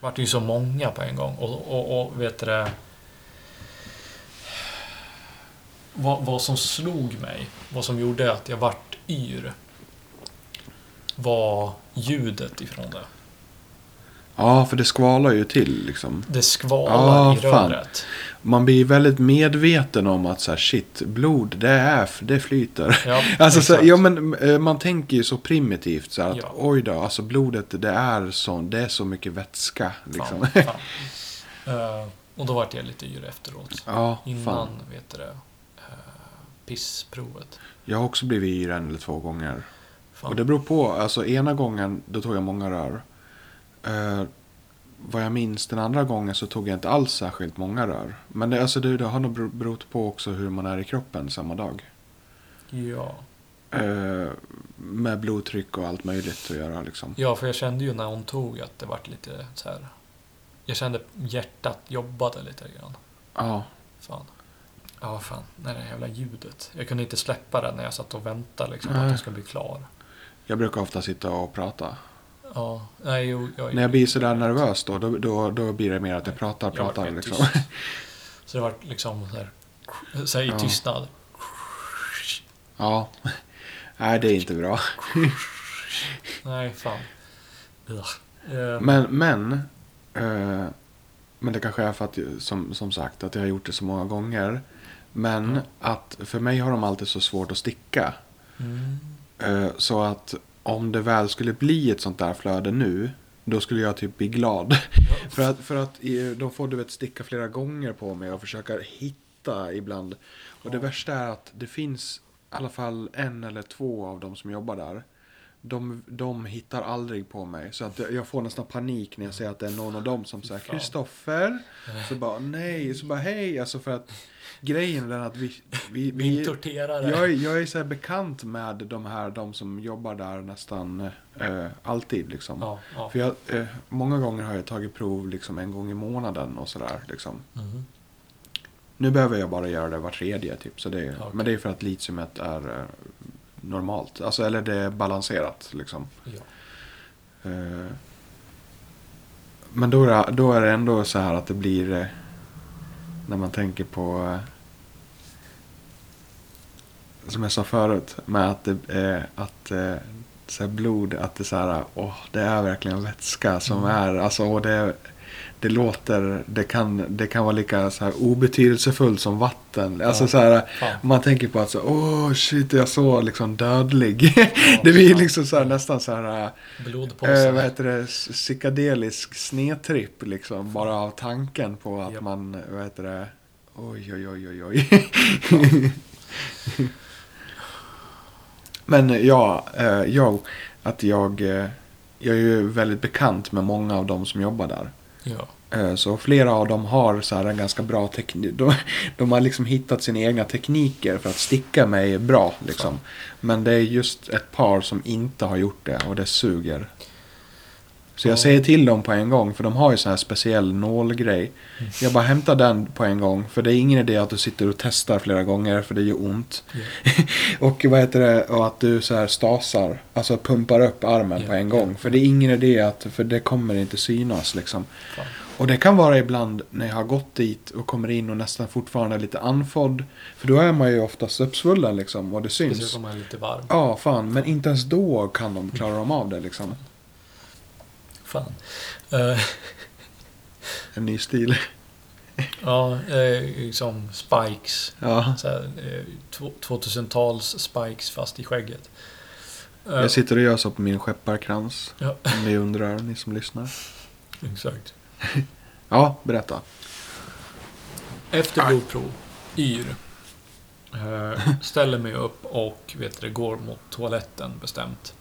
vart det ju så många på en gång. Och, och, och vet du det... Vad, vad som slog mig, vad som gjorde att jag vart yr, var ljudet ifrån det.
Ja, för det skvalar ju till liksom.
Det skvalar
Ah,
i
fan.
röret.
Man blir väldigt medveten om att så här, shit, blod, det är, det flyter.
Ja,
Alltså, så,
exakt.
ja, men, eh, man tänker ju så primitivt så här, att
Ja.
oj då, alltså blodet det är, så, det är så mycket vätska. Liksom.
Fan, fan. Eh, och då vart jag lite yr efteråt.
Ja,
Innan,
fan.
vet du det, eh, pissprovet.
Jag har också blivit yr en eller två gånger.
Fan.
Och det beror på, alltså ena gången då tog jag många rör. Eh, vad jag minns den andra gången så tog jag inte alls särskilt många rör. Men det, alltså, det, det har nog bero- berott på också hur man är i kroppen samma dag.
Ja.
Eh, med blodtryck och allt möjligt att göra liksom.
ja, för jag kände ju när hon tog att det vart lite så här. Jag kände hjärtat jobbade lite grann.
Ja,
Fan. Ja, fan. Det där jävla ljudet. Jag kunde inte släppa det när jag satt och väntade liksom,
Nej.
att den skulle bli klar.
jag brukar ofta sitta och prata.
Ja, nej, jo, jag,
När jag blir sådär nervös då, då, då, då blir det mer att jag pratar,
jag vart
pratar
mer
liksom.
tyst. Så det vart liksom så här, så här i
Ja.
tystnad.
Ja. Nej, det är inte bra.
Nej, fan. Ugh. Eh,
Men, men, eh, men det kanske är för att, som, som sagt, att jag har gjort det så många gånger. Men
Ja.
att för mig har de alltid så svårt att sticka.
Mm.
Eh, så att om det väl skulle bli ett sånt där flöde nu, då skulle jag typ bli glad. för att, för att eh, de får du vet sticka flera gånger på mig och försöka hitta ibland. Och det
Ja.
värsta är att det finns i alla fall en eller två av dem som jobbar där. De, de hittar aldrig på mig. Så att jag jag får nästan panik när jag ser att det är någon av dem som säger
Fan.
Kristoffer. Så bara nej, så bara hej. Alltså för att grejen är den att vi... vi,
Min
vi
torterare.
jag, är- jag är så här bekant med de här, de som jobbar där nästan eh, alltid liksom.
Ja, ja.
För jag, eh, många gånger har jag tagit prov liksom en gång i månaden och sådär. Liksom.
Mhm.
Nu behöver jag bara göra det var tredje typ. Så det är,
Okej.
Men det är för att litiumet är eh, normalt. Alltså, eller det är balanserat liksom.
Ja.
Eh, men då är, det, då är det ändå så här att det blir eh, när man tänker på eh, som jag sa förut med att det, eh, att eh, så här blod att det så här åh, det är verkligen vätska som
Mm.
är alltså och det det låter det kan det kan vara lika så här obetydelsefullt som vatten alltså
Ja.
så här
Fan.
man tänker på att så åh shit jag så liksom dödlig det
Ja,
blir
fan.
liksom så här nästan så här eh,
Blodpåsen.
Eh, vad heter det? S- Psykedelisk snedtripp liksom. Bara av tanken på att
Japp.
man, vad heter det? Oj, oj, oj, oj, oj. Men ja, eh, jag, att jag, eh, jag är ju väldigt bekant med många av dem som jobbar där.
ja.
Eh, Så flera av dem har så här en ganska bra teknik. De, de har liksom hittat sina egna tekniker för att sticka mig bra. Liksom. Men det är just ett par som inte har gjort det och det suger. Så jag
Ja.
säger till dem på en gång för de har ju sån här speciell nålgrej. Jag bara hämtar den på en gång för det är ingen idé att du sitter och testar flera gånger för det gör ont.
Ja.
och vad heter det? Och att du så här stasar, alltså pumpar upp armen
Ja,
på en
ja.
gång. För det är ingen idé att, för det kommer inte synas liksom.
Fan.
Och det kan vara ibland när jag har gått dit och kommer in och nästan fortfarande är lite andfådd. För då är man ju oftast uppsvullen liksom och det
Precis
syns.
som man är lite varm.
Ja, fan. Men inte ens då kan de klara dem av det liksom.
Fan. Eh,
En ny stil.
ja, eh, liksom spikes.
Ja.
Så här, eh, tw- 2000-tals spikes fast i skägget. Eh,
Jag sitter och gör så på min skepparkrans.
Ja.
Om ni undrar, ni som lyssnar.
Eh, Exakt.
Ja, berätta.
Efter blodprov, yr. Eh, ställer mig upp och vet du, går mot toaletten bestämt.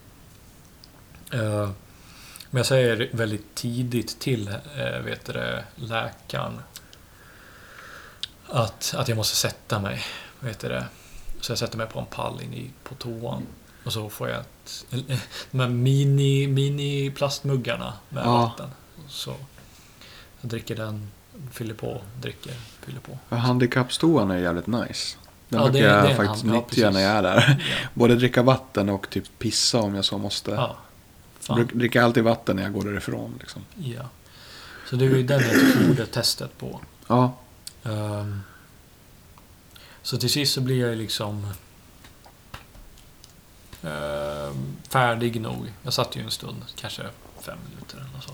Eh, men jag säger väldigt tidigt till eh, vet du, det, läkaren att, att jag måste sätta mig. Vet du, det. så jag sätter mig på en pall in i, på toan. Och så får jag ett, de här mini, mini plastmuggarna med
Ja.
vatten. Så jag dricker den fyller på och dricker. Fyller på.
Ja, Handikappstoan är jävligt nice. Den
Ja,
brukar
det- det är
jag
en
faktiskt
hand- ja,
nyttja när jag är
Ja.
där. Både dricka vatten och typ pissa om jag så måste.
ja.
Jag
Fan.
bruk- dricker alltid vatten när jag går därifrån. Liksom.
Ja. Så det är ju den jag gjorde testet på.
Ja,
Ehm, så till sist så blir jag ju liksom ehm, färdig nog. Jag satt ju en stund, kanske fem minuter eller något så,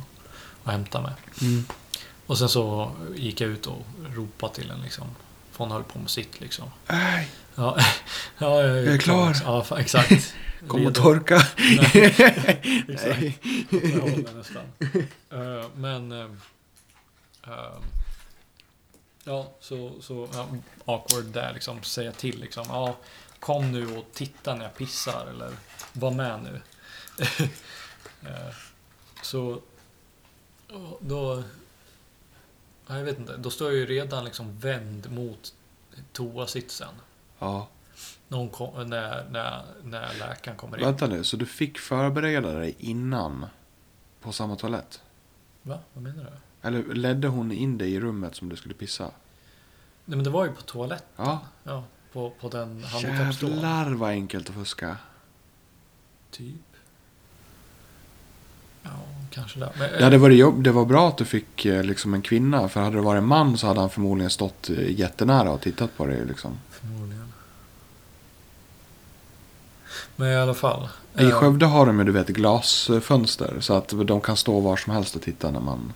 och hämtade mig.
Mm.
Och sen så gick jag ut och ropade till en liksom. För hon höll på med sitt liksom.
Nej,
Ja, ja jag
Jag är klar.
Ja, fa- exakt.
kom och
Redo.
torka.
Exakt.
Nej.
Jag håller nästan. Eh, men... eh, eh, ja, så, så ja, awkward där liksom. Säga till liksom. Ja, kom nu och titta när jag pissar eller var med nu. Eh, så och då... ja, Jag vet inte. Då står jag ju redan liksom vänd mot toasitsen.
Ja,
När, hon kom, när, när, när läkaren kommer in.
vänta nu, så du fick förbereda dig innan på samma toalett?
Va? Vad menar du?
Eller ledde hon in dig i rummet som du skulle pissa?
Nej men det var ju på toalett.
Ja.
Ja, på, på den handikappstolen.
Jävlar vad enkelt att fuska.
Typ. Ja, kanske det. Men,
Det, hade varit jobb, det var bra att du fick eh, liksom en kvinna. För hade det varit en man så hade han förmodligen stått eh, jättenära och tittat på dig. Liksom.
eh, Förmodligen. Men i alla fall.
I
eh,
Skövde har de ju du vet glasfönster. Så att de kan stå var som helst och titta när man...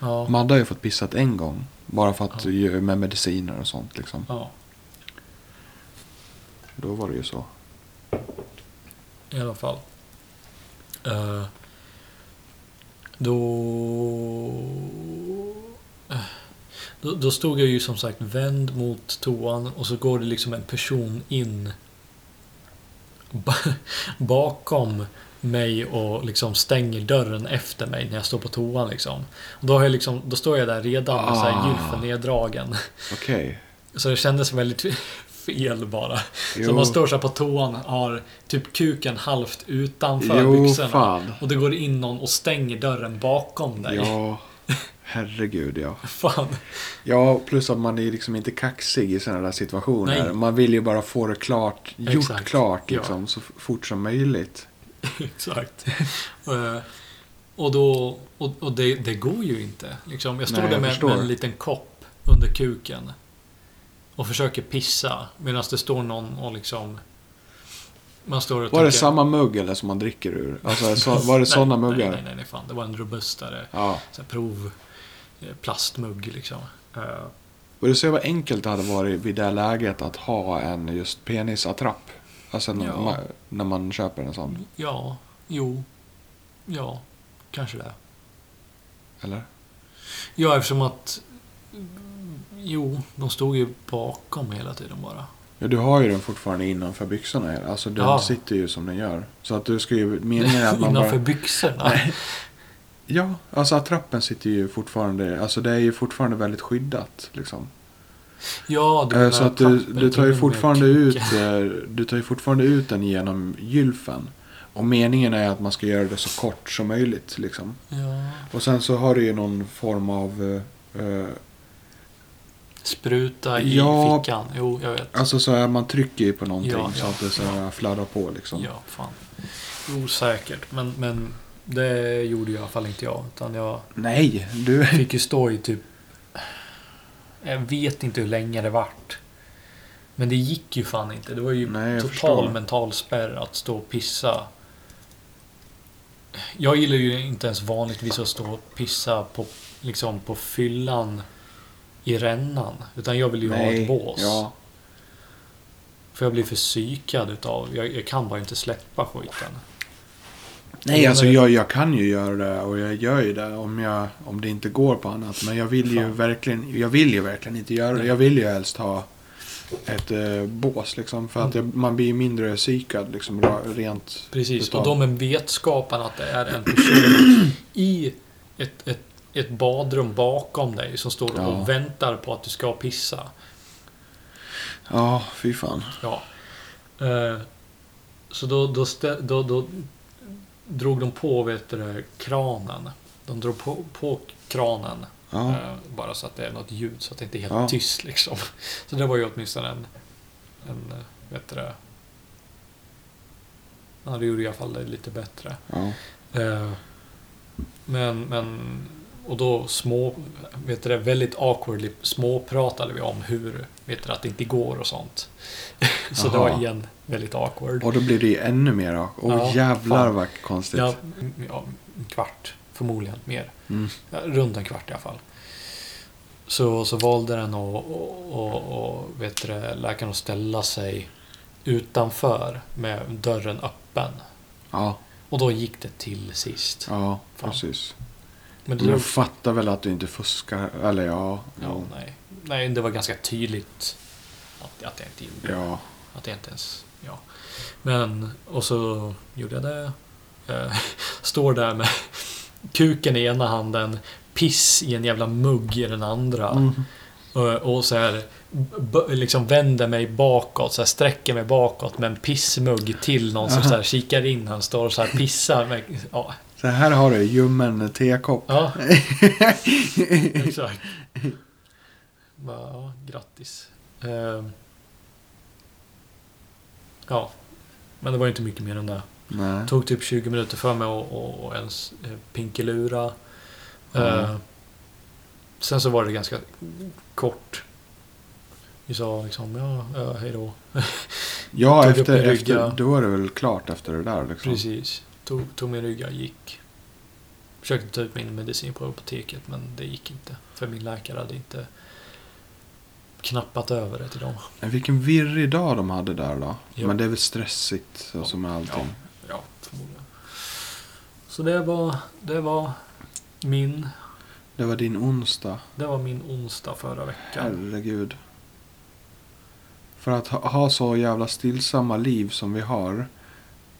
ja,
Madde har ju fått pissat en gång. Bara för att
Ja.
ju- med mediciner och sånt liksom.
ja,
Då var det ju så.
i alla fall. Eh, då... eh, Då, då stod jag ju som sagt vänd mot toan och så går det liksom en person in ba- bakom mig och liksom stänger dörren efter mig när jag står på toan liksom. Och Då, har jag liksom, då står jag där redan med så
Ah.
här gylfen neddragen.
Okej.
Så det kändes väldigt fel bara. Så
Jo.
man står så här på toan har typ kuken halvt utanför
Jo,
byxorna.
fan.
Och det går in någon och stänger dörren bakom dig.
Ja. Herregud ja.
Fan.
Ja, plus att man är liksom inte kaxig i sådana där situationer.
Nej.
Man vill ju bara få det klart, gjort
Exakt.
klart
Ja.
liksom, så f- fort som möjligt.
Exakt. Eh, och då, och, och det, det går ju inte. Liksom, jag står
Nej,
där
jag
med,
förstår.
med en liten kopp under kuken. Och försöker pissa. Medan det står någon och liksom... Man står och
Var det
tycker-
samma mugg eller som man dricker ur? Alltså, så, var det sådana
nej,
muggar?
Nej, nej, nej, fan. Det var en robustare
Ja.
så här, prov... eh, Plastmugg liksom. Eh,
Och du ser vad enkelt det hade varit vid det läget att ha en just penisattrapp. Alltså när,
Ja.
man, när man köper en sån.
Ja, jo. Ja, kanske det.
Eller?
Ja, eftersom att... Jo, de stod ju bakom hela tiden bara.
Ja, du har ju den fortfarande innanför byxorna. Alltså den
Ja.
sitter ju som den gör. Så att du ska ju... Meningen är att man
Innanför
bara...
byxorna.
Ja, alltså attrappen sitter ju fortfarande... Alltså det är ju fortfarande väldigt skyddat liksom.
Ja, du
Eh,
menar
Så att du, du
papper,
tar ju
till och med
fortfarande
kuken.
ut eh, Du tar ju fortfarande ut den genom gylfen. Och meningen är att man ska göra det så kort som möjligt liksom.
Ja.
Och sen så har du ju någon form av... eh, eh,
Spruta i
Ja.
fickan. Jo, jag vet.
Alltså så här, man trycker ju på någonting
Ja,
så
ja,
att det så här fladdrar på liksom.
Ja, fan. Osäkert, men, men det gjorde ju i alla fall inte jag. Utan jag
Nej, du...
fick ju stå i typ... Jag vet inte hur länge det vart. Men det gick ju fan inte. Det var ju
Nej, jag
total
förstår.
mental spärr att stå och pissa. Jag gillar ju inte ens vanligtvis att stå och pissa på, liksom på fyllan i rännan. Utan jag vill ju ha ett bås.
Ja.
För jag blir för psykad utav... Jag, jag kan bara inte släppa skiten.
Nej,
Ja,
alltså
men-
jag, jag kan ju göra det och jag gör ju det om, jag, om det inte går på annat. Men jag vill ju
Fan.
verkligen, jag vill ju verkligen inte göra det.
Nej.
Jag vill ju helst ha ett eh, bås liksom. För
Mm.
att jag, man blir ju mindre psykad liksom ra- rent.
Precis,
Utav-
och de med vetskapen att det är en person i ett, ett, ett badrum bakom dig som står
Ja.
och väntar på att du ska pissa.
Ja, fy fan.
Ja. Eh, Så då, då, stä- då, då drog de på vet du, det, kranen. De drog på, på kranen
Ja.
Eh, Bara så att det är något ljud, så att det inte är helt
Ja.
tyst liksom. Så det var ju åtminstone en, en eh, vet du det? Ja, det gjorde i alla fall det lite bättre.
Ja.
Eh, Men, men, och då små, vet du det, väldigt awkwardly småpratade vi om hur, vet du att det inte går och sånt. Så det
Jaha.
var igen väldigt awkward.
Och då blir det ju ännu mer av. Åh
Ja,
jävlar
fan.
vad konstigt.
Ja, m- ja, en kvart, förmodligen mer.
Mm.
Ja, Runt en kvart i alla fall. Så, så valde den att och, och, och, vet du, det, läkaren att ställa sig utanför med dörren öppen.
Ja,
Och då gick det till sist.
ja
Fan.
precis.
Men det
Men du fattar väl att du inte fuskar? Eller ja.
Ja,
Jo.
nej. nej, det var ganska tydligt att, att jag inte gjorde det.
Ja.
Att jag inte ens... Ja. Men, och så gjorde jag det. Eh, Står där med kuken i ena handen, piss i en jävla mugg i den andra.
Mm.
Och, och så här, b- liksom vänder mig bakåt, så här, sträcker mig bakåt med en pissmugg till någon som så här, kikar in. Han står och så här pissar. Med, ja,
Så här har du ljummen tekopp.
ja Exakt. Bara, ja, grattis. Ehm. ja, men det var ju inte mycket mer än det.
Nej.
tog typ 20 minuter för mig att- att att ens eh, pinkelura.
Mm.
Ehm. sen så var det ganska kort. Vi sa liksom, ja, ja hej då.
Ja,
Tog upp
efter,
en rygga.
efter, då är det väl klart efter det där liksom.
Precis. Tog, tog min rygga och gick. Försökte ta ut min medicin på apoteket men det gick inte. För min läkare hade inte knappat över det till dem.
Men Vilken virrig dag de hade där då.
Ja.
Men det är väl stressigt så som med allting.
Ja, förmodligen. Så det var, det var min,
Det var din onsdag.
det var min onsdag förra veckan.
Herregud. För att ha, ha så jävla stillsamma liv som vi har.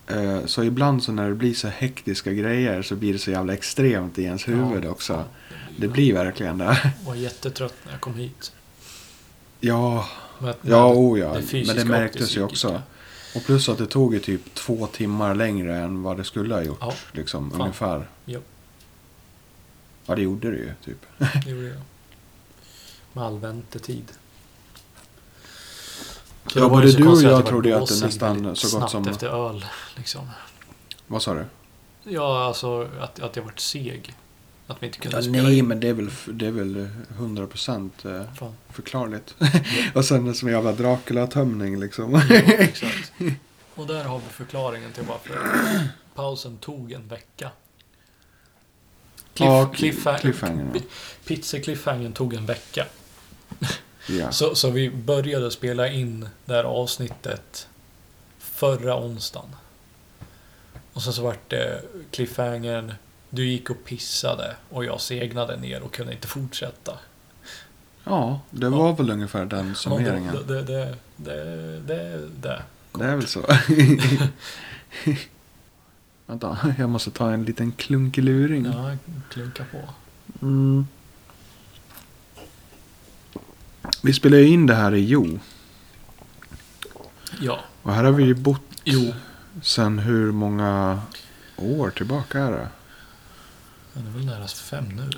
Eh, så ibland så när det blir så hektiska grejer så blir det så jävla extremt i ens huvud
Ja,
också. Det
Det
blir verkligen det.
Jag var jättetrött när jag kom hit.
Ja,
Men,
ja, oh ja.
fysiska
Men det
och
märktes ju
psykiska.
också. Och plus att det tog ju typ två timmar längre än vad det skulle ha gjort.
Ja.
Liksom
Fan.
ungefär.
Ja.
Ja, det gjorde det ju typ.
Det gjorde jag. Med all väntetid. Så
Ja,
det var
både
ju så
du och
konstigt
jag
var
trodde ju att det
blåsigt
nästan
väldigt
så gott
snabbt
som-
efter öl, liksom.
Vad sa du?
Ja, alltså att, att jag varit seg. Att vi inte kunde
Ja,
spela
nej,
in.
men det är väl, det är väl 100 procent
Fan.
förklarligt. och sen som en jävla Dracula-tömning liksom.
Ja, exakt. Och där har vi förklaringen till varför pausen tog en vecka.
Ja,
Cliff,
cl-
cliffha-
cliffhanger, ja.
pi- Pizza-cliffhangern tog en vecka.
ja.
Så, så vi började spela in det här avsnittet förra onsdagen. Och sen så vart det cliffhangern, du gick och pissade och jag segnade ner och kunde inte fortsätta.
ja, det var väl ungefär den summeringen.
Ja, Det, det, det, det, det, det.
Det är väl så. Vänta, jag måste ta en liten klunkeluring.
Ja, klunka på.
Mm. Vi spelar ju in det här i Jo.
Ja,
Och här har vi ju bott
jo.
sen hur många år tillbaka är det?
Men det är väl nära fem nu.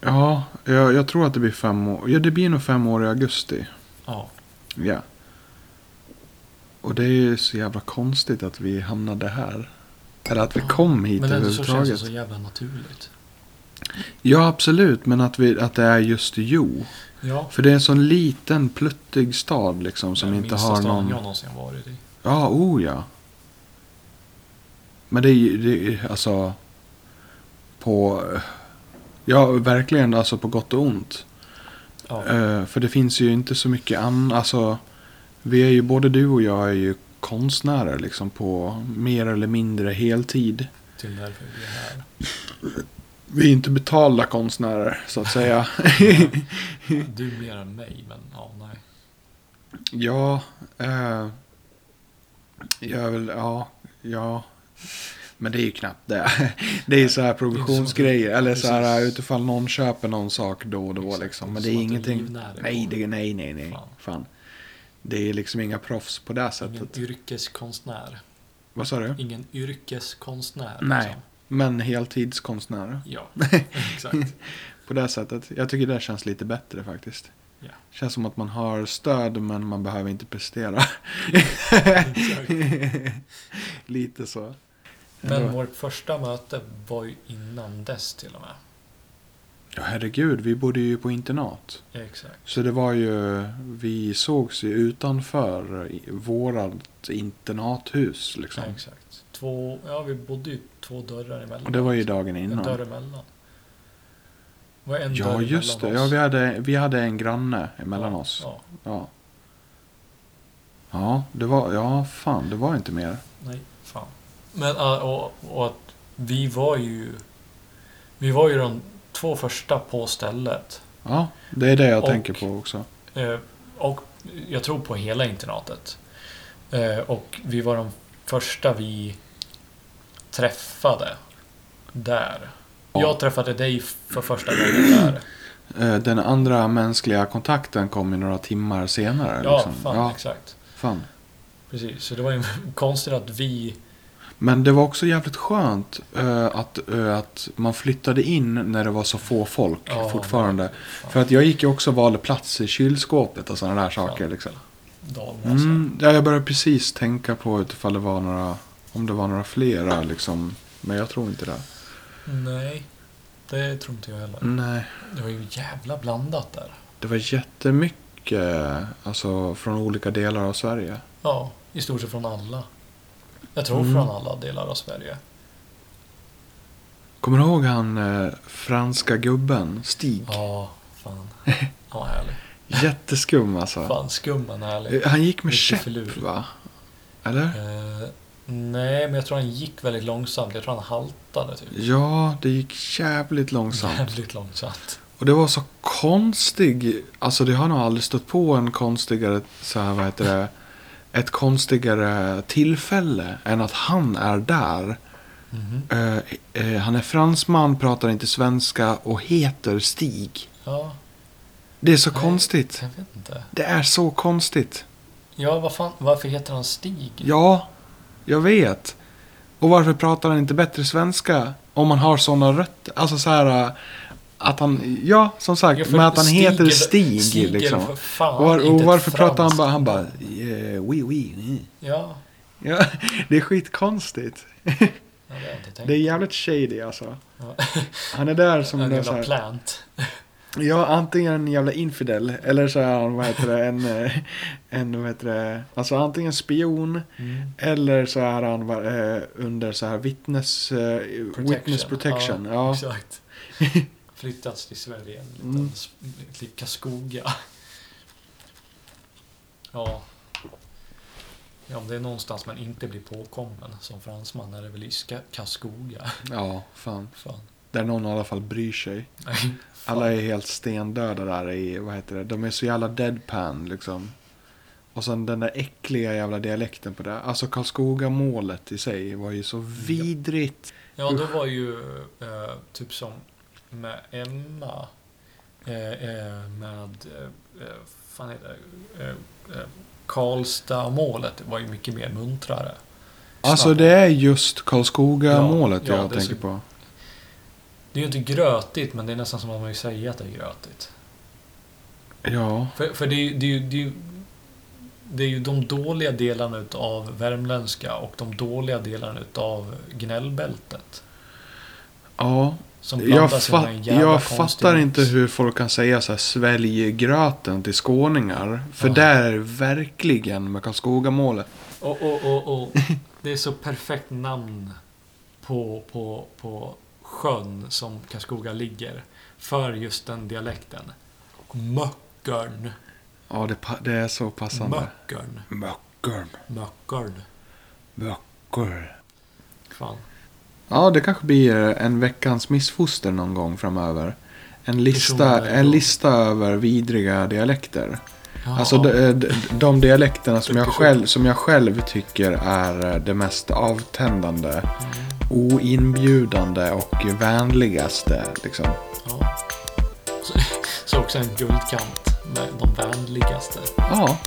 Ja, jag, jag tror att det blir fem år. Ja, det blir nog fem år i augusti.
Ja.
Ja. Och det är ju så jävla konstigt att vi hamnade här. Eller att vi kom hit
Men ändå så känns det
överhuvudtaget.
så jävla naturligt.
Ja, absolut. Men att, vi, att det är just Jo.
Ja.
För det är en sån liten pluttig stad liksom som
Den
inte
minsta
har
staden
någon...
jag någonsin varit i.
Ja, oh ja. Men det är ju, det är, ju, alltså... På... Ja, verkligen alltså på gott och ont.
Ja.
Eh, för det finns ju inte så mycket annat. Alltså, vi är ju, både du och jag är ju konstnärer liksom på mer eller mindre heltid.
Till därför vi är här.
Vi är inte betalda konstnärer så att säga.
Du mer än mig, men ja, nej.
ja, eh, jag är väl, ja, ja. Men det är ju knappt det. Det är ju så här provisionsgrejer. Eller så här eh,
Precis.
utifall någon köper någon sak då och då liksom. Men det är
Som att
ingenting.
livnär dig
Nej,
på.
det, nej, nej, nej.
Fan.
Fan. Det är liksom inga proffs på det
Ingen
sättet.
yrkeskonstnär.
Vad sa du?
Ingen yrkeskonstnär.
Nej.
Liksom.
Men heltidskonstnär.
Ja, exakt.
På det sättet. Jag tycker det känns lite bättre faktiskt.
Ja.
Känns som att man har stöd men man behöver inte prestera.
exakt.
lite så.
Men vårt första möte var ju innan dess till och med.
Ja herregud, vi bodde ju på internat.
Exakt.
Så det var ju, vi sågs ju utanför i- vårat internathus liksom.
Exakt. Två, ja, vi bodde ju två dörrar emellan.
Och det var ju dagen
En dörr
innan.
emellan. Det var en
Ja
dörr
just det,
emellan
ja,
oss.
vi, hade, vi hade en granne emellan
Ja,
oss.
Ja,
Ja. Ja, det var, ja fan, det var inte mer.
nej, fan. Men ja, och, och att vi var ju... Vi var ju de två första på stället.
Ja, det är det jag
Och-
tänker på också.
Eh, och jag tror på hela internatet. Eh, och vi var de första vi träffade där.
Ja.
Jag träffade dig för första gången där.
Eh, Den andra mänskliga kontakten kom ju några timmar senare.
Ja,
liksom.
fan,
ja,
exakt.
fan.
Precis, så det var ju konstigt att vi...
Men det var också jävligt skönt eh, att, eh, att man flyttade in när det var så få folk
Ja,
fortfarande.
fan.
För att jag gick ju också och valde plats i kylskåpet och sådana där
Fan.
saker. Liksom.
Dalmåsen.
Mm, ja, jag började precis tänka på ifall det var några, om det var några flera. Liksom. Men jag tror inte det.
Nej, det tror inte jag heller.
Nej,
Det var ju jävla blandat där.
det var jättemycket alltså, från olika delar av Sverige.
Ja, i stort sett från alla. Jag tror
Mm.
från alla delar av Sverige.
Kommer du ihåg han eh, franska gubben, Stig?
Ja, fan. Ja, härlig.
Jätteskum alltså.
Fan, skumman härlig.
Eh, Han gick med
Mycket
käpp
förlur.
va? Eller?
Eh, nej, men jag tror han gick väldigt långsamt. Jag tror han haltade typ.
Ja, det gick jävligt långsamt.
Jävligt långsamt.
Och det var så konstig, alltså det har nog aldrig stött på en konstigare, så här, vad heter det, ett konstigare tillfälle än att han är där. Eh, eh, han är fransman, pratar inte svenska och heter Stig.
Ja,
Det är så
Nej.
konstigt.
jag vet inte.
Det är så konstigt.
Ja, vad fan, varför heter han Stig?
Ja, jag vet. Och varför pratar han inte bättre svenska om man har sådana rötter? Alltså så här äh, att han, ja som sagt,
Ja, för
men att han
Stig
heter
är-
Stig,
Stig är
liksom.
för fan
Och, var, och
inte ett
varför pratar han
franskt
bara, han bara,
namn.
yeah, oui, oui, oui.
Ja,
Ja, det är skitkonstigt.
ja, det har jag inte tänkt.
Det är jävligt shady alltså.
Ja.
Han är där som
en
en
jävla
så här,
plant.
ja antingen en jävla infidel eller så är han, vad heter det, en, eh, en, vad heter det, alltså antingen spion
Mm.
Eller så är han va- eh, under så här witness, eh, witness protection. Ja,
Exakt. Flyttats till Sverige. En liten
Mm.
s- till Karlskoga. Ja. Ja, om det är någonstans man inte blir påkommen som fransman är det väl i Ska- Karlskoga.
ja, fan.
Fan.
Där någon i alla fall bryr sig.
Nej, fan.
Alla är helt stendöda där i, vad heter det, de är så jävla deadpan liksom. Och sen den där äckliga jävla dialekten på det. Alltså Karlskoga-målet i sig var ju så vidrigt.
Ja, det var ju eh, typ som med Emma. Eh, eh, med, eh, eh, fan heter det? Eh, eh, Karlstad-målet var ju mycket mer muntrare.
Alltså
Snabbare.
det är just Karlskoga-målet
Ja, ja,
jag
det är
tänker
så-
på.
Det är ju inte grötigt, men det är nästan som att man vill säga att det är grötigt.
Ja,
För, för det, är, ju- det, är ju, det, är ju, det är ju de dåliga delarna utav värmländska och de dåliga delarna utav gnällbältet.
ja.
Som
Jag,
blandas i
fatt,
den här jävla
jag
konstiga
fattar
mix.
inte hur folk kan säga så här svälj gröten till skåningar. För
Ja.
där är det verkligen med Karlskoga-målet.
Och, och, och, och det är så perfekt namn på, på, på sjön som Karlskoga ligger. För just den dialekten. Möckern.
Ja, det, pa- det är så passande.
Möckern.
Möckern.
Möckern.
Möcker.
Fan.
Ja, det kanske blir eh, en veckans missfoster någon gång framöver. En
Personer
lista, en
då.
lista över vidriga dialekter.
Ja.
Alltså de, de, de dialekterna som jag,
Tycker så.
själv, som jag själv tycker är eh, det mest avtändande, oinbjudande och vänligaste. Liksom.
Ja. Så, så också en guldkant med de vänligaste.
Ja,